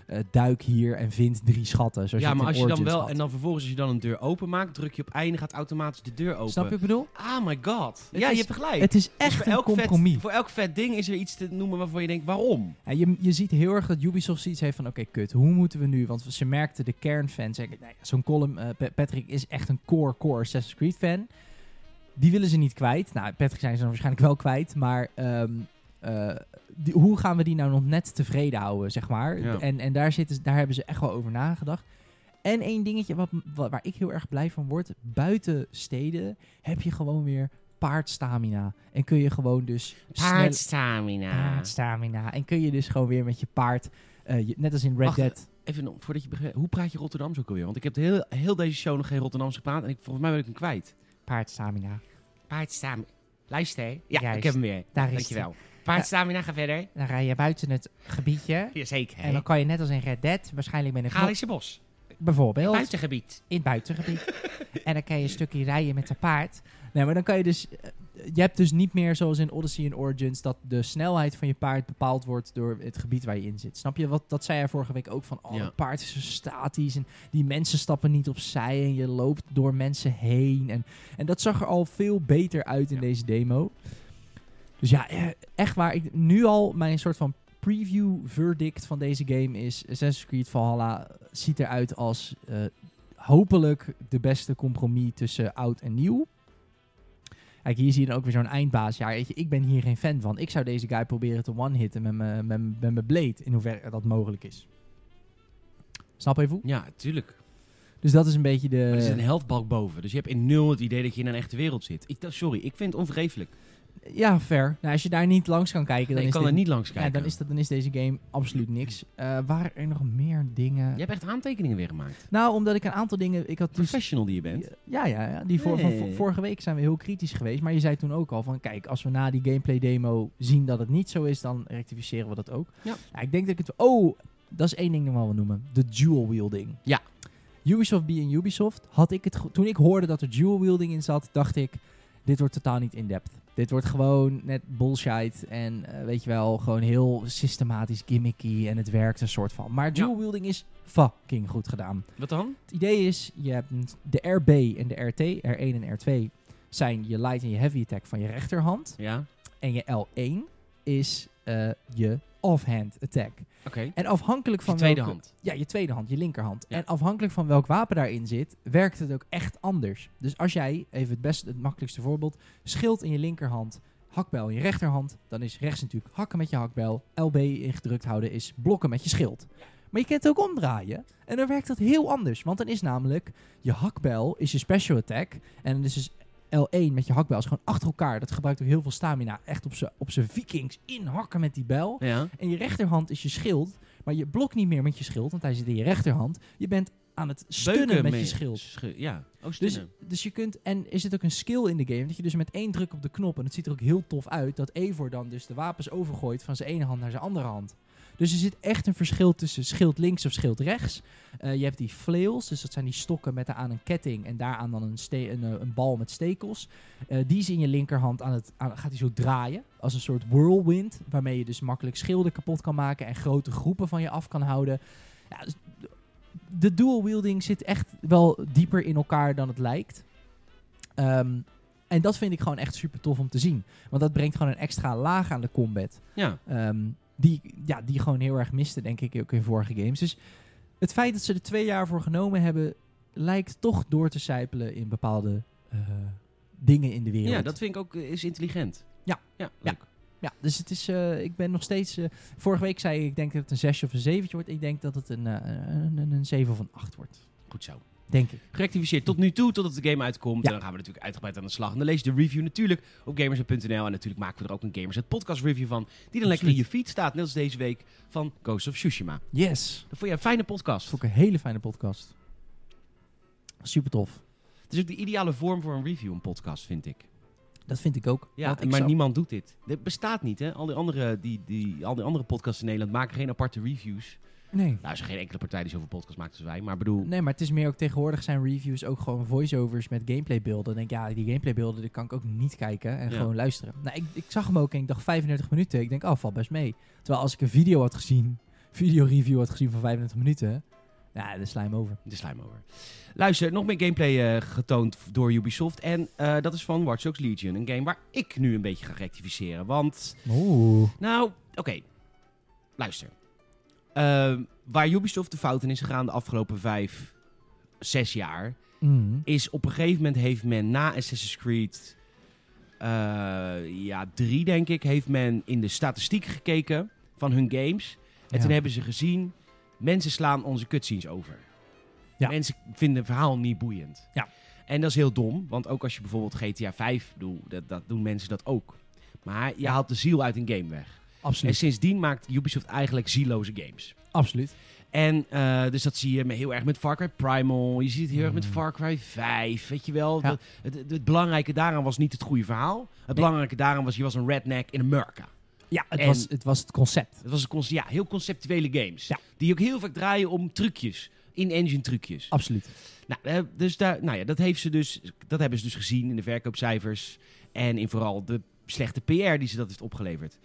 B: eh, duik hier en vind drie schatten. Zoals
A: Ja,
B: je het
A: maar als
B: in
A: je dan
B: Origins
A: wel.
B: had.
A: En dan vervolgens, als je dan een deur openmaakt, druk je op einde, gaat automatisch de deur open.
B: Snap je wat ik bedoel?
A: Ah, my god.
B: Het
A: ja,
B: is-
A: je hebt gelijk.
B: Het is
A: Dus
B: echt
A: voor
B: een
A: elk
B: compromis.
A: Vet, voor elk vet ding is er iets te noemen waarvan je denkt, waarom?
B: Ja, je, je ziet heel erg dat Ubisoft zoiets heeft van... Oké, kut, hoe moeten we nu? Want ze merkten de kernfans... en, Nou ja, Zo'n column, eh, Pa- Patrick is echt een core, core Assassin's Creed fan. Die willen ze niet kwijt. Nou, Patrick zijn ze dan waarschijnlijk wel kwijt. Maar ehm, eh, die- hoe gaan we die nou nog net tevreden houden, zeg maar?
A: Ja.
B: En, en daar, zitten, ze- daar hebben ze echt wel over nagedacht. En één dingetje wat, wat- waar ik heel erg blij van word... Buiten steden heb je gewoon weer paardstamina. En kun je gewoon dus... sneller-
A: Paardstamina.
B: paardstamina. En kun je dus gewoon weer met je paard, eh, je- net als in Red
A: Wacht,
B: Dead.
A: Even nog, voordat je begrijpt, hoe praat je Rotterdams ook alweer? Want ik heb de heel, heel deze show nog geen Rotterdams gepraat en ik, volgens mij ben ik hem kwijt.
B: Paardstamina.
A: Paardstamina. Luister, hè? Ja,
B: Juist.
A: ik heb hem weer.
B: Daar is
A: Dankjewel. Paardstamina, ga verder.
B: die. Dan rij je buiten het gebiedje.
A: Jazeker.
B: En dan kan je net als in Red Dead, waarschijnlijk met een knop,
A: Galische Bos.
B: bijvoorbeeld,
A: Buitengebied.
B: in het buitengebied. en dan kan je een stukje rijden met een paard. Nee, maar dan kan je dus... eh, Je hebt dus niet meer zoals in Odyssey en Origins... dat de snelheid van je paard bepaald wordt door het gebied waar je in zit. Snap je? Wat, dat zei hij vorige week ook van... Oh,
A: Ja.
B: het paard is zo statisch en die mensen stappen niet opzij... en je loopt door mensen heen. En, en dat zag er al veel beter uit in
A: Ja.
B: deze demo. Dus ja, eh, echt waar. Ik, nu al mijn soort van preview verdict van deze game is... Assassin's Creed Valhalla ziet eruit als eh, hopelijk de beste compromis tussen oud en nieuw. Kijk, hier zie je dan ook weer zo'n eindbaas. Ja, weet je, ik ben hier geen fan van. Ik zou deze guy proberen te one-hitten met mijn- met mijn- met mijn blade. In hoeverre dat mogelijk is. Snap even hoe?
A: Ja, tuurlijk.
B: Dus dat is een beetje de...
A: Maar er zit een helftbalk boven. Dus je hebt in nul het idee dat je in een echte wereld zit. Ik, dat- sorry, ik vind het onvergeeflijk.
B: Ja, fair. Nou, als je daar niet langs kan kijken, dan
A: Nee, ik
B: is
A: kan
B: dit...
A: er niet langs kijken.
B: Ja, dan is, dat, dan is deze game absoluut niks. Eh, waren er nog meer dingen?
A: Je hebt echt aantekeningen weer gemaakt.
B: Nou, omdat ik een aantal dingen... Ik had dus,
A: Professional die je bent.
B: ja, ja, ja. Die voor, van
A: Nee.
B: vo- vorige week zijn we heel kritisch geweest. Maar je zei toen ook al van... Kijk, als we na die gameplay demo zien dat het niet zo is... dan rectificeren we dat ook.
A: Ja.
B: Nou, ik denk dat ik het... Oh, dat is één ding nog wel wil noemen. De dual wielding.
A: Ja.
B: Ubisoft being Ubisoft had ik het... go- Toen ik hoorde dat er dual wielding in zat, dacht ik... Dit wordt totaal niet in-depth. Dit wordt gewoon net bullshit en eh, weet je wel, gewoon heel systematisch gimmicky en het werkt een soort van. Maar dual wielding is fucking goed gedaan.
A: Wat dan?
B: Het idee is, je hebt een- de RB en de RT, R1 en R2 zijn je light en je heavy attack van je rechterhand.
A: Ja,
B: En je L1 is eh, je offhand attack.
A: oké.
B: En afhankelijk van
A: Je tweede
B: welke-
A: hand.
B: Ja, je tweede hand, je linkerhand.
A: Ja.
B: En afhankelijk van welk wapen daarin zit, werkt het ook echt anders. Dus als jij, even het beste, het makkelijkste voorbeeld, schild in je linkerhand, hakbijl in je rechterhand, dan is rechts natuurlijk hakken met je hakbijl, LB ingedrukt houden is blokken met je schild. Maar je kunt het ook omdraaien. En dan werkt dat heel anders. Want dan is namelijk je hakbijl is je special attack. En dan is dus L1 met je hakbijl is gewoon achter elkaar. Dat gebruikt ook heel veel stamina. Echt op z'n- op zijn vikings inhakken met die bijl.
A: Ja.
B: En je rechterhand is je schild. Maar je blokt niet meer met je schild, want hij zit in je rechterhand. Je bent aan het stunnen
A: Beuken
B: met
A: mee-
B: je schild.
A: schu- ja. Oh,
B: Dus,
A: stunnen.
B: dus je kunt, en er zit ook een skill in de game, dat je dus met één druk op de knop, en het ziet er ook heel tof uit, dat Evor dan dus de wapens overgooit van zijn ene hand naar zijn andere hand. Dus er zit echt een verschil tussen schild links of schild rechts. Eh, je hebt die flails, dus dat zijn die stokken met daaraan een ketting en daaraan dan een, ste- een, eh, een bal met stekels. Eh, die is in je linkerhand aan het, aan, gaat hij zo draaien, als een soort whirlwind, waarmee je dus makkelijk schilden kapot kan maken en grote groepen van je af kan houden. Ja, dus de dual wielding zit echt wel dieper in elkaar dan het lijkt. Ehm, en dat vind ik gewoon echt super tof om te zien. Want dat brengt gewoon een extra laag aan de combat.
A: ja.
B: Ehm, die, ja, die gewoon heel erg miste, denk ik, ook in vorige games. Dus het feit dat ze er twee jaar voor genomen hebben, lijkt toch door te sijpelen in bepaalde eh, dingen in de wereld.
A: ja, dat vind ik ook eh, is intelligent.
B: Ja.
A: Ja,
B: Ja.
A: leuk.
B: Ja, dus het is, eh, ik ben nog steeds. eh, vorige week zei ik, ik denk dat het een zesje of een zeventje wordt. Ik denk dat het een, eh, een, een, een 7 of een 8 wordt.
A: Goed zo.
B: Denk ik.
A: Gerectificeerd tot nu toe, totdat de game
B: Ja.
A: uitkomt. En dan gaan we natuurlijk uitgebreid aan de slag. En dan lees je de review natuurlijk op gamersnet.nl. En natuurlijk maken we er ook een Gamersnet podcast review van. Die dan lekker in je feed staat, net als deze week, van Ghost of Tsushima.
B: Yes.
A: Dat vond je een fijne podcast.
B: Vond ik een hele fijne podcast. Super tof.
A: Het is ook de ideale vorm voor een review, een podcast, vind ik.
B: Dat vind ik ook.
A: Ja,
B: Want ik
A: maar
B: zou-
A: niemand doet dit. Dit bestaat niet, hè? Al die andere, die, die, al die andere podcasts in Nederland maken geen aparte reviews.
B: Nee.
A: Nou, is er geen enkele partij die zoveel podcasts maakt als wij. Maar ik bedoel,
B: Nee, maar het is meer ook tegenwoordig zijn reviews ook gewoon voiceovers met gameplaybeelden. Dan denk ik, ja, die gameplaybeelden die kan ik ook niet kijken en
A: Ja.
B: gewoon luisteren. Nou, ik, ik zag hem ook en ik dacht 35 minuten. Ik denk, oh, valt best mee. Terwijl als ik een video had gezien, video review had gezien van 35 minuten, nou, dan sla je hem over.
A: de slime over. Luister, nog meer gameplay eh, getoond door Ubisoft. En eh, dat is van Watch Dogs Legion. Een game waar ik nu een beetje ga rectificeren. Want,
B: Oeh.
A: nou, oké. Luister. Eh, waar Ubisoft de fouten is gegaan de afgelopen vijf, zes jaar...
B: Mm.
A: is op een gegeven moment heeft men na Assassin's Creed eh, ja, 3, denk ik, heeft men in de statistiek gekeken van hun games. En
B: Ja.
A: toen hebben ze gezien, mensen slaan onze cutscenes over.
B: Ja.
A: Mensen vinden het verhaal niet boeiend.
B: Ja.
A: En dat is heel dom, want ook als je bijvoorbeeld GTA 5 doet, dat, dat doen mensen dat ook. Maar je haalt de ziel uit een game weg. En
B: Absoluut.
A: sindsdien maakt Ubisoft eigenlijk zieloze games.
B: Absoluut.
A: En eh, dus dat zie je me- heel erg met Far Cry Primal. Je ziet het heel erg met
B: Mm.
A: Far Cry 5. Weet je wel?
B: Ja.
A: Dat- het, het, het belangrijke daaraan was niet het goede verhaal. Het belangrijke daaraan was je was een redneck in Amerika.
B: Ja, het,
A: En-
B: was, het was het concept.
A: Het was een conce- ja, heel conceptuele games.
B: Ja.
A: Die ook heel vaak draaien om trucjes. In-engine trucjes.
B: Oh. Absoluut.
A: Nou, eh, dus daar, nou ja, dat, heeft ze dus, dat hebben ze dus gezien in de verkoopcijfers. En in vooral de slechte PR die ze dat heeft opgeleverd.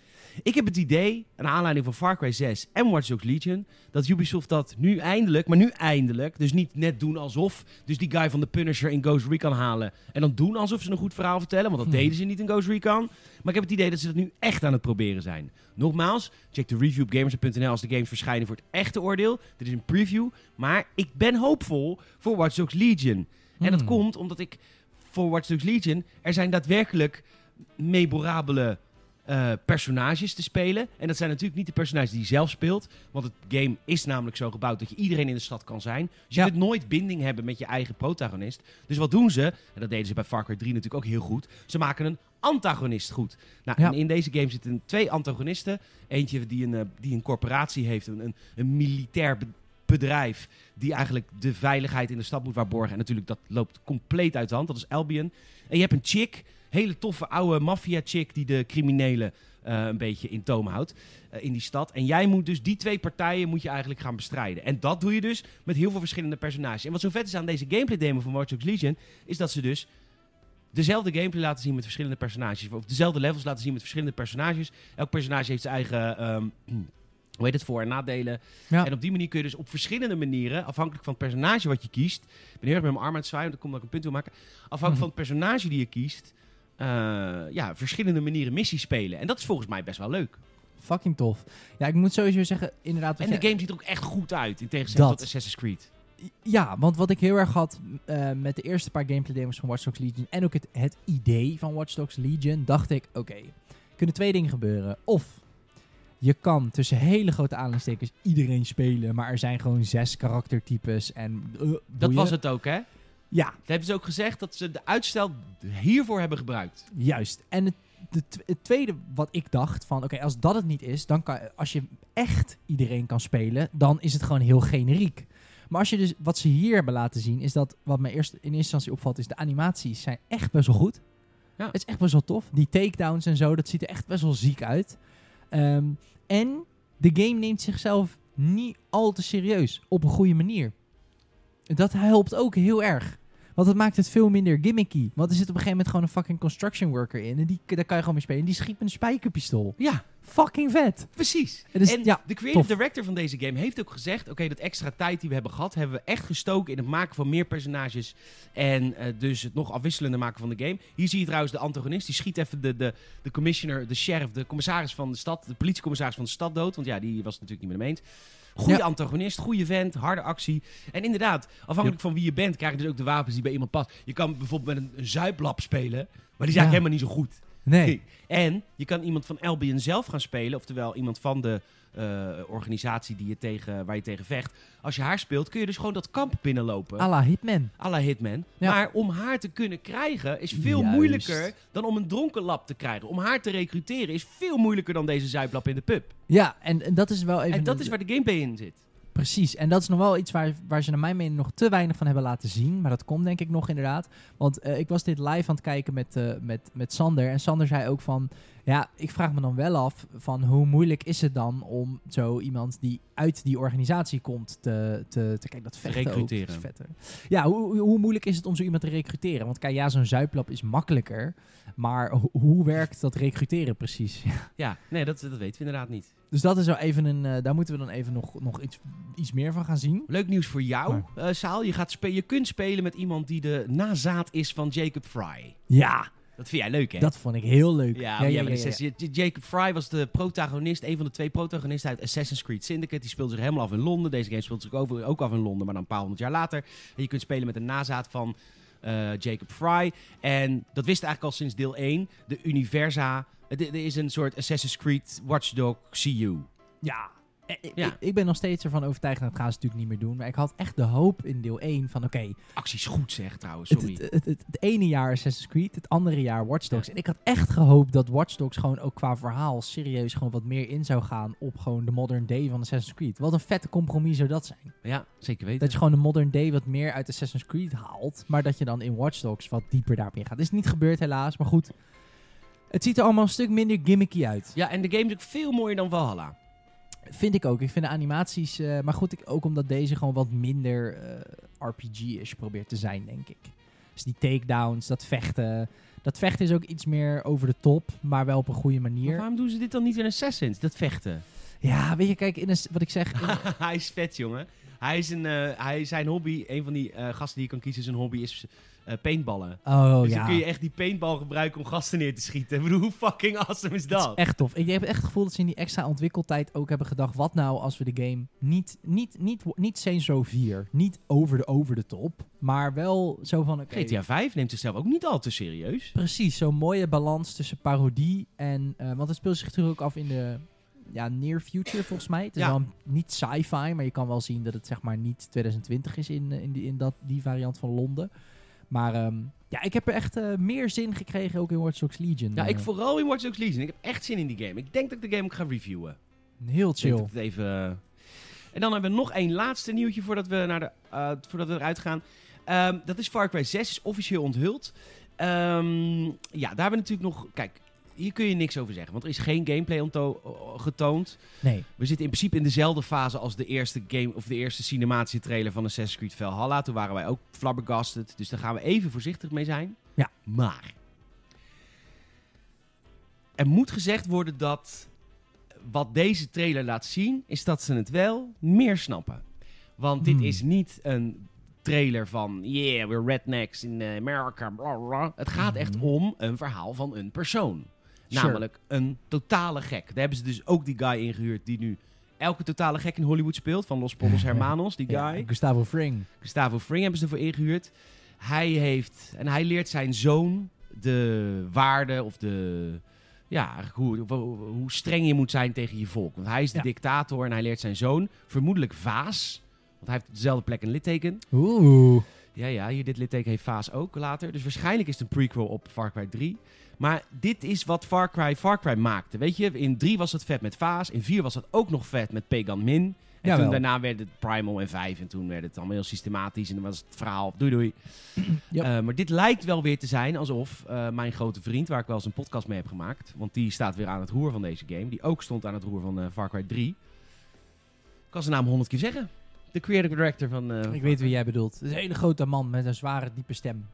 A: Ik heb het idee, naar aanleiding van Far Cry 6 en Watch Dogs Legion, dat Ubisoft dat nu eindelijk, maar nu eindelijk, dus niet net doen alsof, dus die guy van de Punisher in Ghost Recon halen en dan doen alsof ze een goed verhaal vertellen, want dat
B: Hmm.
A: deden ze niet in Ghost Recon. Maar ik heb het idee dat ze dat nu echt aan het proberen zijn. Nogmaals, check de review op gamers.nl als de games verschijnen voor het echte oordeel. Dit is een preview, maar ik ben hoopvol voor Watch Dogs Legion. En dat
B: Hmm.
A: komt omdat ik voor Watch Dogs Legion... er zijn daadwerkelijk memorabele eh, personages te spelen. En dat zijn natuurlijk niet de personages die je zelf speelt. Want het game is namelijk zo gebouwd dat je iedereen in de stad kan zijn. Dus je
B: Ja.
A: kunt nooit binding hebben met je eigen protagonist. Dus wat doen ze? En dat deden ze bij Far Cry 3 natuurlijk ook heel goed. Ze maken een antagonist goed. Nou,
B: Ja.
A: en in deze game zitten twee antagonisten. Eentje die een, eh, die een corporatie heeft, een, een, een militair be- bedrijf... die eigenlijk de veiligheid in de stad moet waarborgen. En natuurlijk, dat loopt compleet uit de hand. Dat is Albion. En je hebt een chick, hele toffe oude maffia-chick... die de criminelen eh, een beetje in toom houdt eh, in die stad. En jij moet dus die twee partijen moet je eigenlijk gaan bestrijden. En dat doe je dus met heel veel verschillende personages. En wat zo vet is aan deze gameplay demo van Watch Dogs Legion... is dat ze dus dezelfde gameplay laten zien met verschillende personages. Of dezelfde levels laten zien met verschillende personages. Elk personage heeft zijn eigen... ehm, hoe heet het? Voor- en nadelen.
B: Ja.
A: En op die manier kun je dus op verschillende manieren... afhankelijk van het personage wat je kiest... Ik ben heel erg met mijn arm aan het zwaaien, want daar kom ik een punt toe maken. Afhankelijk
B: Mhm.
A: van het personage die je kiest... eh, ja, verschillende manieren missies spelen. En dat is volgens mij best wel leuk.
B: Fucking tof. Ja, ik moet sowieso zeggen, inderdaad... wat
A: En
B: jij-
A: de game ziet er ook echt goed uit, in tegenstelling
B: Dat.
A: tot Assassin's Creed.
B: Ja, want wat ik heel erg had eh, met de eerste paar gameplay demos van Watch Dogs Legion en ook het, het idee van Watch Dogs Legion, dacht ik, oké, kunnen twee dingen gebeuren. Of je kan tussen hele grote aanhalingstekens iedereen spelen, maar er zijn gewoon zes karaktertypes en... eh,
A: Dat
B: boeien.
A: was het ook, hè?
B: Ja,
A: Dat hebben ze ook gezegd dat ze de uitstel hiervoor hebben gebruikt.
B: Juist. En het, de tw- het tweede wat ik dacht van, oké, als dat het niet is, dan kan, als je echt iedereen kan spelen, dan is het gewoon heel generiek. Maar als je dus, wat ze hier hebben laten zien, is dat wat mij eerst in eerste instantie opvalt, is de animaties zijn echt best wel goed.
A: Ja.
B: Het is echt best wel tof. Die takedowns en zo, dat ziet er echt best wel ziek uit. Ehm, en de game neemt zichzelf niet al te serieus op een goede manier. Dat helpt ook heel erg. Want het maakt het veel minder gimmicky. Want er zit op een gegeven moment gewoon een fucking construction worker in. En die, daar kan je gewoon mee spelen. En die schiet met een spijkerpistool.
A: Ja,
B: Fucking vet.
A: precies.
B: Het is-
A: en
B: ja,
A: de creative
B: tof.
A: director van deze game heeft ook gezegd... oké, dat extra tijd die we hebben gehad... hebben we echt gestoken in het maken van meer personages... en eh, dus het nog afwisselender maken van de game. Hier zie je trouwens de antagonist. Die schiet even de, de, de commissioner, de sheriff, de commissaris van de stad... de politiecommissaris van de stad dood. Want ja, die was het natuurlijk niet meer mee eens. Goede
B: Ja.
A: antagonist, goede vent, harde actie. En inderdaad, afhankelijk van wie je bent... krijg je dus ook de wapens die bij iemand past. Je kan bijvoorbeeld met een, een zuiplap spelen... maar die is eigenlijk
B: Ja.
A: helemaal niet zo goed.
B: Nee.
A: En je kan iemand van Albion zelf gaan spelen, oftewel iemand van de eh, organisatie die je tegen, waar je tegen vecht. Als je haar speelt, kun je dus gewoon dat kamp binnenlopen.
B: A la Hitman.
A: à la Hitman.
B: Ja.
A: Maar om haar te kunnen krijgen is veel
B: Juist.
A: moeilijker dan om een dronken lap te krijgen. Om haar te recruteren is veel moeilijker dan deze zuiplap in de pub.
B: Ja, en, en dat is wel even...
A: En dat is waar de gameplay in zit.
B: Precies. En dat is nog wel iets waar, waar ze naar mijn mening nog te weinig van hebben laten zien. Maar dat komt denk ik nog inderdaad. Want eh, ik was dit live aan het kijken met, eh, met, met Sander. En Sander zei ook van... Ja, ik vraag me dan wel af van hoe moeilijk is het dan om zo iemand die uit die organisatie komt te... te, te kijk, dat vechten ook,
A: recruteren.
B: is vetter. Ja, hoe, hoe- hoe moeilijk is het om zo iemand te recruteren? Want kijk, ja, zo'n zuiplap is makkelijker. Maar ho- hoe werkt dat recruteren precies?
A: Ja, nee, dat, dat weten we inderdaad niet.
B: dus dat is wel even een... eh, daar moeten we dan even nog, nog iets, iets meer van gaan zien.
A: Leuk nieuws voor jou, eh Saal. Je, gaat spe- je kunt spelen met iemand die de nazaat is van Jacob Fry.
B: Ja,
A: Dat vind jij leuk, hè?
B: Dat vond ik heel leuk.
A: Ja, maar jij bent een Assassin- J- Jacob Fry was de protagonist, een van de twee protagonisten uit Assassin's Creed Syndicate. Die speelde zich helemaal af in Londen. Deze game speelt zich ook, over- ook af in Londen, maar dan een paar honderd jaar later. En je kunt spelen met een nazaat van eh, Jacob Fry. En dat wist eigenlijk al sinds deel 1. De Universa. Het i- er is een soort Assassin's Creed Watchdog CU.
B: Ja. Eh, Ik,
A: Ja.
B: ik- ik ben nog steeds ervan overtuigd, en dat gaan ze natuurlijk niet meer doen. Maar ik had echt de hoop in deel 1 van, oké,
A: Acties goed zeg trouwens,
B: het,
A: sorry.
B: het, het, het- het ene jaar Assassin's Creed, het andere jaar Watch Dogs. En ik had echt gehoopt dat Watch Dogs gewoon ook qua verhaal serieus gewoon wat meer in zou gaan op gewoon de modern day van Assassin's Creed. Wat een vette compromis zou dat zijn.
A: ja, zeker weten.
B: Dat je gewoon de modern day wat meer uit Assassin's Creed haalt, maar dat je dan in Watch Dogs wat dieper daarop ingaat. Is niet gebeurd helaas, maar goed. Het ziet er allemaal een stuk minder gimmicky uit.
A: Ja, en de game is ook veel mooier dan Valhalla.
B: Vind ik ook. Ik vind de animaties. eh, maar goed, ik, ook omdat deze gewoon wat minder eh, RPG-ish probeert te zijn, denk ik. Dus die takedowns, dat vechten. Dat vechten is ook iets meer over de top, maar wel op een goede
A: Maar
B: manier.
A: waarom doen ze dit dan niet in Assassins, dat vechten?
B: Ja, weet je, kijk, in een, s- wat ik zeg. in-
A: hij is vet, jongen. Hij is een, eh, hij, zijn hobby, een van die eh, gasten die je kan kiezen, zijn hobby is eh, paintballen.
B: oh
A: dus
B: ja.
A: dan kun je echt die paintball gebruiken om gasten neer te schieten. Ik bedoel, hoe fucking awesome is
B: Dat
A: dat?
B: is echt tof. Ik heb echt het gevoel dat ze in die extra ontwikkeltijd ook hebben gedacht... wat nou als we de game niet, niet, niet, niet Saints Row 4... niet over de, over de top, maar wel zo van... oké,
A: GTA 5 neemt zichzelf ook niet al te serieus.
B: Precies, zo'n mooie balans tussen parodie en... eh, want het speelt zich natuurlijk ook af in de ja, near future volgens mij. Het is
A: Ja.
B: wel een- niet sci-fi, maar je kan wel zien dat het zeg maar niet 2020 is in, eh, in, die, in dat, die variant van Londen. Maar ehm, ja, ik heb er echt eh, meer zin gekregen ook in Watch Dogs Legion.
A: Ja,
B: Eh,
A: ik vooral in Watch Dogs Legion. Ik heb echt zin in die game. Ik denk dat ik de game ook ga reviewen.
B: Heel
A: Ik denk
B: chill.
A: dat het even... eh, En dan hebben we nog één laatste nieuwtje voordat we, naar de, eh, voordat we eruit gaan. Ehm, dat is Far Cry 6, is officieel onthuld. Ehm, ja, daar hebben we natuurlijk nog... Kijk, hier kun je niks over zeggen, want er is geen gameplay onto- getoond.
B: Nee,
A: We zitten in principe in dezelfde fase als de eerste game of de eerste cinematische trailer van Assassin's Creed Valhalla. Toen waren wij ook flabbergasted, dus daar gaan we even voorzichtig mee zijn.
B: Ja.
A: Maar er moet gezegd worden dat wat deze trailer laat zien, is dat ze het wel meer snappen. Want dit
B: Hmm.
A: is niet een trailer van yeah, we're rednecks in America. Bla bla. Het gaat echt
B: Mhm.
A: om een verhaal van een persoon.
B: Sure.
A: Namelijk een totale gek. Daar hebben ze dus ook die guy ingehuurd die nu elke totale gek in Hollywood speelt. Van Los Pollos Hermanos, die guy.
B: ja, eh, Gustavo Fring.
A: Gustavo Fring hebben ze ervoor ingehuurd. Hij heeft, en hij leert zijn zoon de waarde of de, ja, eigenlijk hoe, hoe, hoe streng je moet zijn tegen je volk. Want hij is de
B: Ja.
A: dictator en hij leert zijn zoon, vermoedelijk Vaas, want hij heeft op dezelfde plek een litteken.
B: Oeh.
A: Ja, ja, hier dit litteken heeft Vaas ook later. Dus waarschijnlijk is het een prequel op Far Cry 3. Maar dit is wat Far Cry Far Cry maakte. Weet je, in 3 was het vet met Vaas. In 4 was dat ook nog vet met Pegan Min. En
B: Jawel.
A: toen daarna werd het Primal en 5. En toen werd het allemaal heel systematisch. En dan was het verhaal doei doei.
B: Yep.
A: Eh, maar dit lijkt wel weer te zijn alsof eh, mijn grote vriend, waar ik wel eens een podcast mee heb gemaakt. Want die staat weer aan het roer van deze game. Die ook stond aan het roer van eh, Far Cry 3. Ik kan zijn naam honderd keer zeggen. De creative director van eh,
B: Ik weet wie jij bedoelt. Het is een hele grote man met een zware, diepe stem.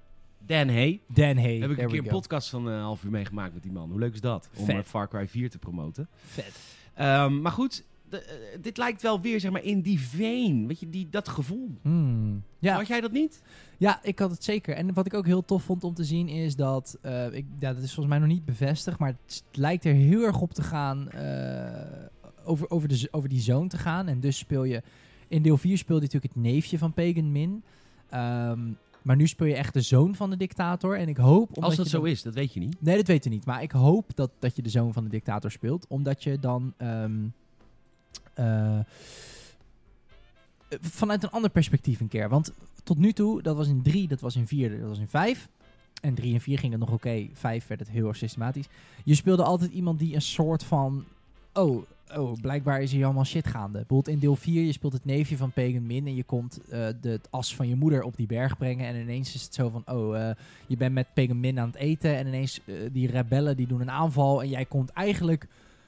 A: Dan Hay.
B: Dan Hay.
A: Heb ik
B: There
A: een
B: we
A: keer een
B: go.
A: podcast van een half uur meegemaakt met die man. Hoe leuk is dat? Om
B: Vet.
A: eh, Far Cry 4 te promoten.
B: Vet.
A: Ehm, maar goed, de- eh, dit lijkt wel weer zeg maar in die veen. Weet je, die, dat gevoel.
B: Hmm. Ja,
A: Had jij dat niet?
B: Ja, ik had het zeker. En wat ik ook heel tof vond om te zien is dat... eh, ik, ja, dat is volgens mij nog niet bevestigd, maar het s- lijkt er heel erg op te gaan... eh, over, over, de, z- over die zone te gaan. En dus speel je... In deel 4 speelde je natuurlijk het neefje van Pagan Min. Ehm, maar nu speel je echt de zoon van de dictator. En ik hoop... Omdat
A: Als dat
B: je
A: zo
B: dan-
A: is, dat weet je niet.
B: Nee, dat weten we niet. Maar ik hoop dat, dat je de zoon van de dictator speelt. Omdat je dan... ehm, eh, vanuit een ander perspectief een keer. Want tot nu toe, dat was in 3, dat was in 4, dat was in 5. En 3 en 4 ging het nog oké. 5 werd het heel erg systematisch. Je speelde altijd iemand die een soort van... Oh, oh blijkbaar is hier allemaal shit gaande. Bijvoorbeeld in deel 4, je speelt het neefje van Pagan Min... en je komt eh, de, het as van je moeder op die berg brengen... en ineens is het zo van... Oh, eh, je bent met Pagan Min aan het eten... en ineens eh, die rebellen die doen een aanval... en jij komt eigenlijk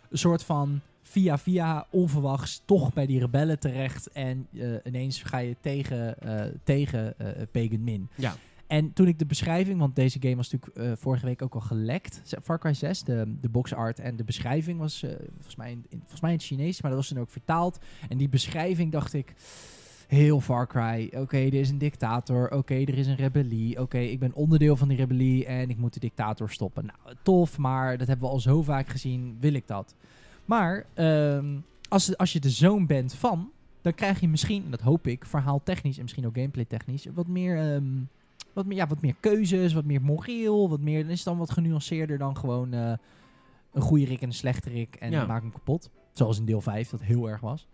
B: een soort van via via onverwachts toch bij die rebellen terecht. En eh, ineens ga je tegen, eh, tegen eh, Pagan Min.
A: Ja.
B: En toen ik de beschrijving, want deze game was natuurlijk eh, vorige week ook al gelekt. Z- Far Cry 6, de, de box art en de beschrijving was eh, volgens, mij in, in- volgens mij in het Chinees, maar dat was toen ook vertaald. En die beschrijving dacht ik, heel Far Cry. Oké, er is een dictator. Oké, er is een rebellie. Oké, ik ben onderdeel van die rebellie en ik moet de dictator stoppen. Nou, tof, maar dat hebben we al zo vaak gezien. Wil ik dat? Maar ehm, als, als je de zoon bent van, dan krijg je misschien, en dat hoop ik, verhaaltechnisch en misschien ook gameplay technisch, wat meer, ehm, wat, meer, ja, wat meer keuzes, wat meer moreel, wat meer, dan is het dan wat genuanceerder dan gewoon eh, een goede rik en een slechte rik en
A: Ja.
B: maak hem kapot. Zoals in deel 5 dat heel erg was.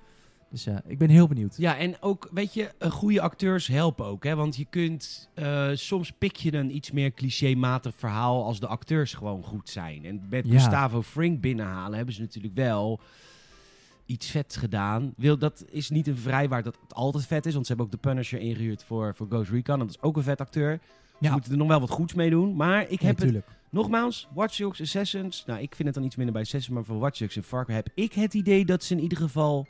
B: Dus eh, ik ben heel benieuwd.
A: Ja, en ook, weet je, eh, goede acteurs helpen ook. Hè? Want je kunt, eh, soms pik je een iets meer clichématig verhaal als de acteurs gewoon goed zijn. En met
B: Ja.
A: Gustavo Fring binnenhalen hebben ze natuurlijk wel iets vet gedaan. Wil, dat is niet een vrijwaard dat het altijd vet is. Want ze hebben ook de Punisher ingehuurd voor, voor Ghost Recon. En dat is ook een vet acteur. Ze
B: Ja.
A: moeten er nog wel wat goeds mee doen. Maar ik heb het,
B: natuurlijk.
A: nogmaals, Watch Dogs Assassins. Nou, ik vind het dan iets minder bij Assassins. Maar voor Watch Dogs en Far Cry heb ik het idee dat ze in ieder geval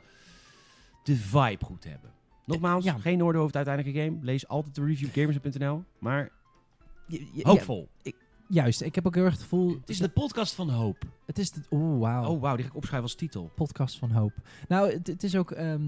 A: de vibe goed hebben. Nogmaals,
B: Eh, ja.
A: geen orde over het uiteindelijke game. Lees altijd de review op gamers.nl. Maar
C: je- je-
A: Hoopvol.
B: Juist, ik heb ook heel erg het gevoel...
A: Het is de podcast van hoop.
B: Het is de... Oeh, wauw.
A: Oh, wauw, die ga ik opschrijven als titel.
B: podcast van hoop. Nou, het, het is ook ehm,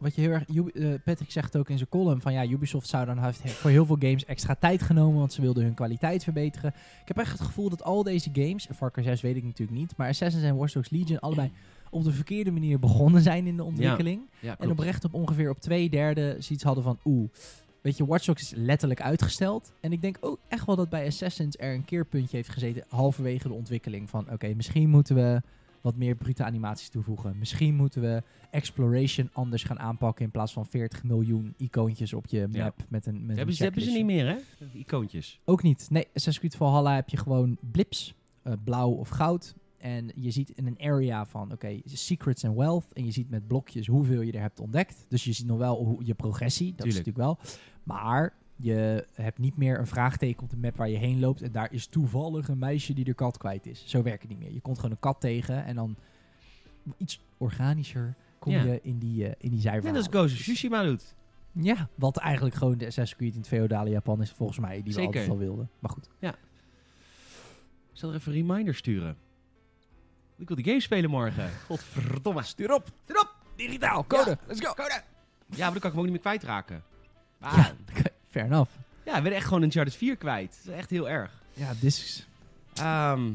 B: wat je heel erg. Ubi- eh, Patrick zegt ook in zijn column van ja, Ubisoft zou dan heeft voor heel veel games extra tijd genomen, want ze wilden hun kwaliteit verbeteren. Ik heb echt het gevoel dat al deze games, en Far Cry 6 weet ik natuurlijk niet, maar Assassin's en Watch Dogs Legion allebei op de verkeerde manier begonnen zijn in de ontwikkeling.
A: Ja,
B: en
A: klopt.
B: oprecht op ongeveer op twee derde zoiets hadden van oeh. Weet je, Watch Dogs is letterlijk uitgesteld. En ik denk ook echt wel dat bij Assassin's er een keerpuntje heeft gezeten halverwege de ontwikkeling. Van oké, misschien moeten we wat meer brute animaties toevoegen. Misschien moeten we exploration anders gaan aanpakken in plaats van 40 miljoen icoontjes op je map
A: Ja.
B: met een met
A: hebben,
B: een
A: ze, hebben ze
B: checklistje.
A: niet meer, hè? Icoontjes.
B: Ook niet. Nee, Assassin's Creed Valhalla heb je gewoon blips, eh, blauw of goud. En je ziet in een area van, oké, secrets en wealth. En je ziet met blokjes hoeveel je er hebt ontdekt. Dus je ziet nog wel hoe- je progressie, dat is
A: Tuurlijk.
B: natuurlijk wel. Maar je hebt niet meer een vraagteken op de map waar je heen loopt. En daar is toevallig een meisje die de kat kwijt is. Zo werkt het niet meer. Je komt gewoon een kat tegen en dan iets organischer kom
A: Ja.
B: je in die, eh, in die
A: Net
B: zijverhalen.
A: als Ghost of Tsushima doet.
B: Ja, wat eigenlijk gewoon de Assassin's Creed in het feodale Japan is volgens mij. Die
A: Zeker.
B: we altijd al wilden. Maar goed.
A: Ik zal er even een reminder sturen. Ik wil die game spelen morgen. Godverdomme, stuur op. Stuur op. Digitaal,
B: code,
A: let's go. Code. Ja, maar dan kan ik hem ook niet meer kwijtraken. Ah,
B: Ja,
A: ja.
B: fair enough.
A: we werden echt gewoon een Uncharted 4 kwijt. Dat is echt heel erg.
B: Ja, discs.
A: Ehm,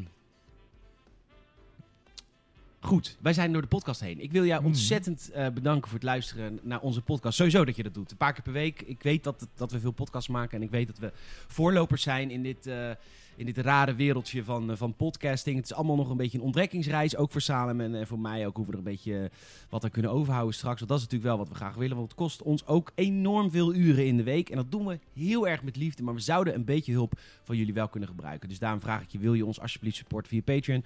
A: goed, wij zijn door de podcast heen. Ik wil jou
B: Hmm.
A: ontzettend eh, bedanken voor het luisteren naar onze podcast. Sowieso dat je dat doet. Een paar keer per week. Ik weet dat, het- dat we veel podcasts maken. En ik weet dat we voorlopers zijn in dit, eh, in dit rare wereldje van, eh, van podcasting. Het is allemaal nog een beetje een ontdekkingsreis. Ook voor Salem en, en voor mij ook. Hoe we er een beetje eh, wat aan kunnen overhouden straks. Want dat is natuurlijk wel wat we graag willen. Want het kost ons ook enorm veel uren in de week. En dat doen we heel erg met liefde. Maar we zouden een beetje hulp van jullie wel kunnen gebruiken. Dus daarom vraag ik je, wil je ons alsjeblieft supporten via Patreon?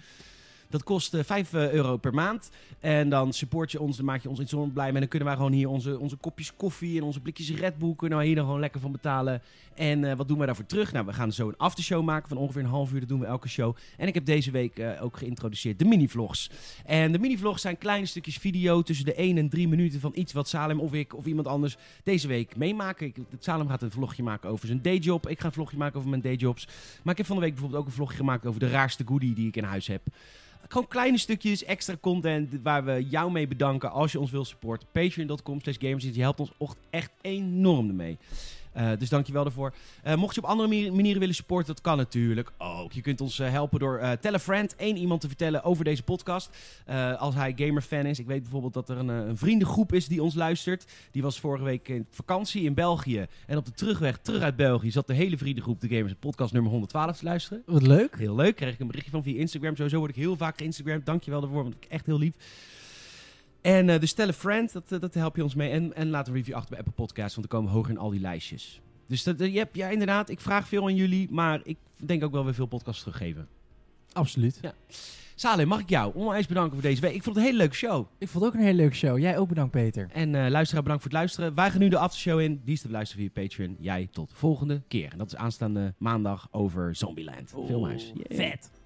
A: Dat kost eh, 5 eh, euro per maand. En dan support je ons, dan maak je ons enorm blij. Maar dan kunnen wij gewoon hier onze, onze kopjes koffie en onze blikjes Red Bull... kunnen we hier dan gewoon lekker van betalen. En eh, wat doen we daarvoor terug? Nou, we gaan zo een aftershow maken van ongeveer een half uur. Dat doen we elke show. En ik heb deze week eh, ook geïntroduceerd de mini-vlogs. En de mini-vlogs zijn kleine stukjes video tussen de 1 en 3 minuten... van iets wat Salem of ik of iemand anders deze week meemaken. Ik, Salem gaat een vlogje maken over zijn dayjob. Ik ga een vlogje maken over mijn dayjobs. Maar ik heb van de week bijvoorbeeld ook een vlogje gemaakt over de raarste goodie die ik in huis heb. Gewoon kleine stukjes, extra content waar we jou mee bedanken als je ons wil supporten. Patreon.com slash gamers. Je helpt ons och- echt enorm ermee. Eh dus dankjewel daarvoor. Eh, mocht je op andere manier- manieren willen supporten, dat kan natuurlijk ook. Je kunt ons eh, helpen door eh tell a friend, één iemand te vertellen over deze podcast. Eh, als hij gamerfan is. Ik weet bijvoorbeeld dat er een, eh, een vriendengroep is die ons luistert. Die was vorige week in vakantie in België. En op de terugweg terug uit België zat de hele vriendengroep de Gamers podcast nummer 112 te luisteren.
B: Wat leuk.
A: Heel leuk. Kreeg ik een berichtje van via Instagram. Sowieso word ik heel vaak geïnstagramd. Dankjewel daarvoor, want ik vind het echt heel lief. En eh dus stel een friend, dat, eh, dat help je ons mee. En, en laat een review achter bij Apple Podcasts, want dan komen we hoger in al die lijstjes. Dus dat, eh, je hebt, ja, inderdaad, ik vraag veel aan jullie, maar ik denk ook wel weer veel podcasts teruggeven.
B: Absoluut.
A: Saleh, mag ik jou onwijs bedanken voor deze week. Ik vond het een hele leuke show.
B: Ik vond het ook een hele leuke show. Jij ook bedankt, Peter.
A: En eh, luisteraar, bedankt voor het luisteren. Wij gaan nu de aftershow in. Die is te beluisteren via Patreon. Jij tot volgende keer. En dat is aanstaande maandag over Zombieland. Veel muis.
B: Vet.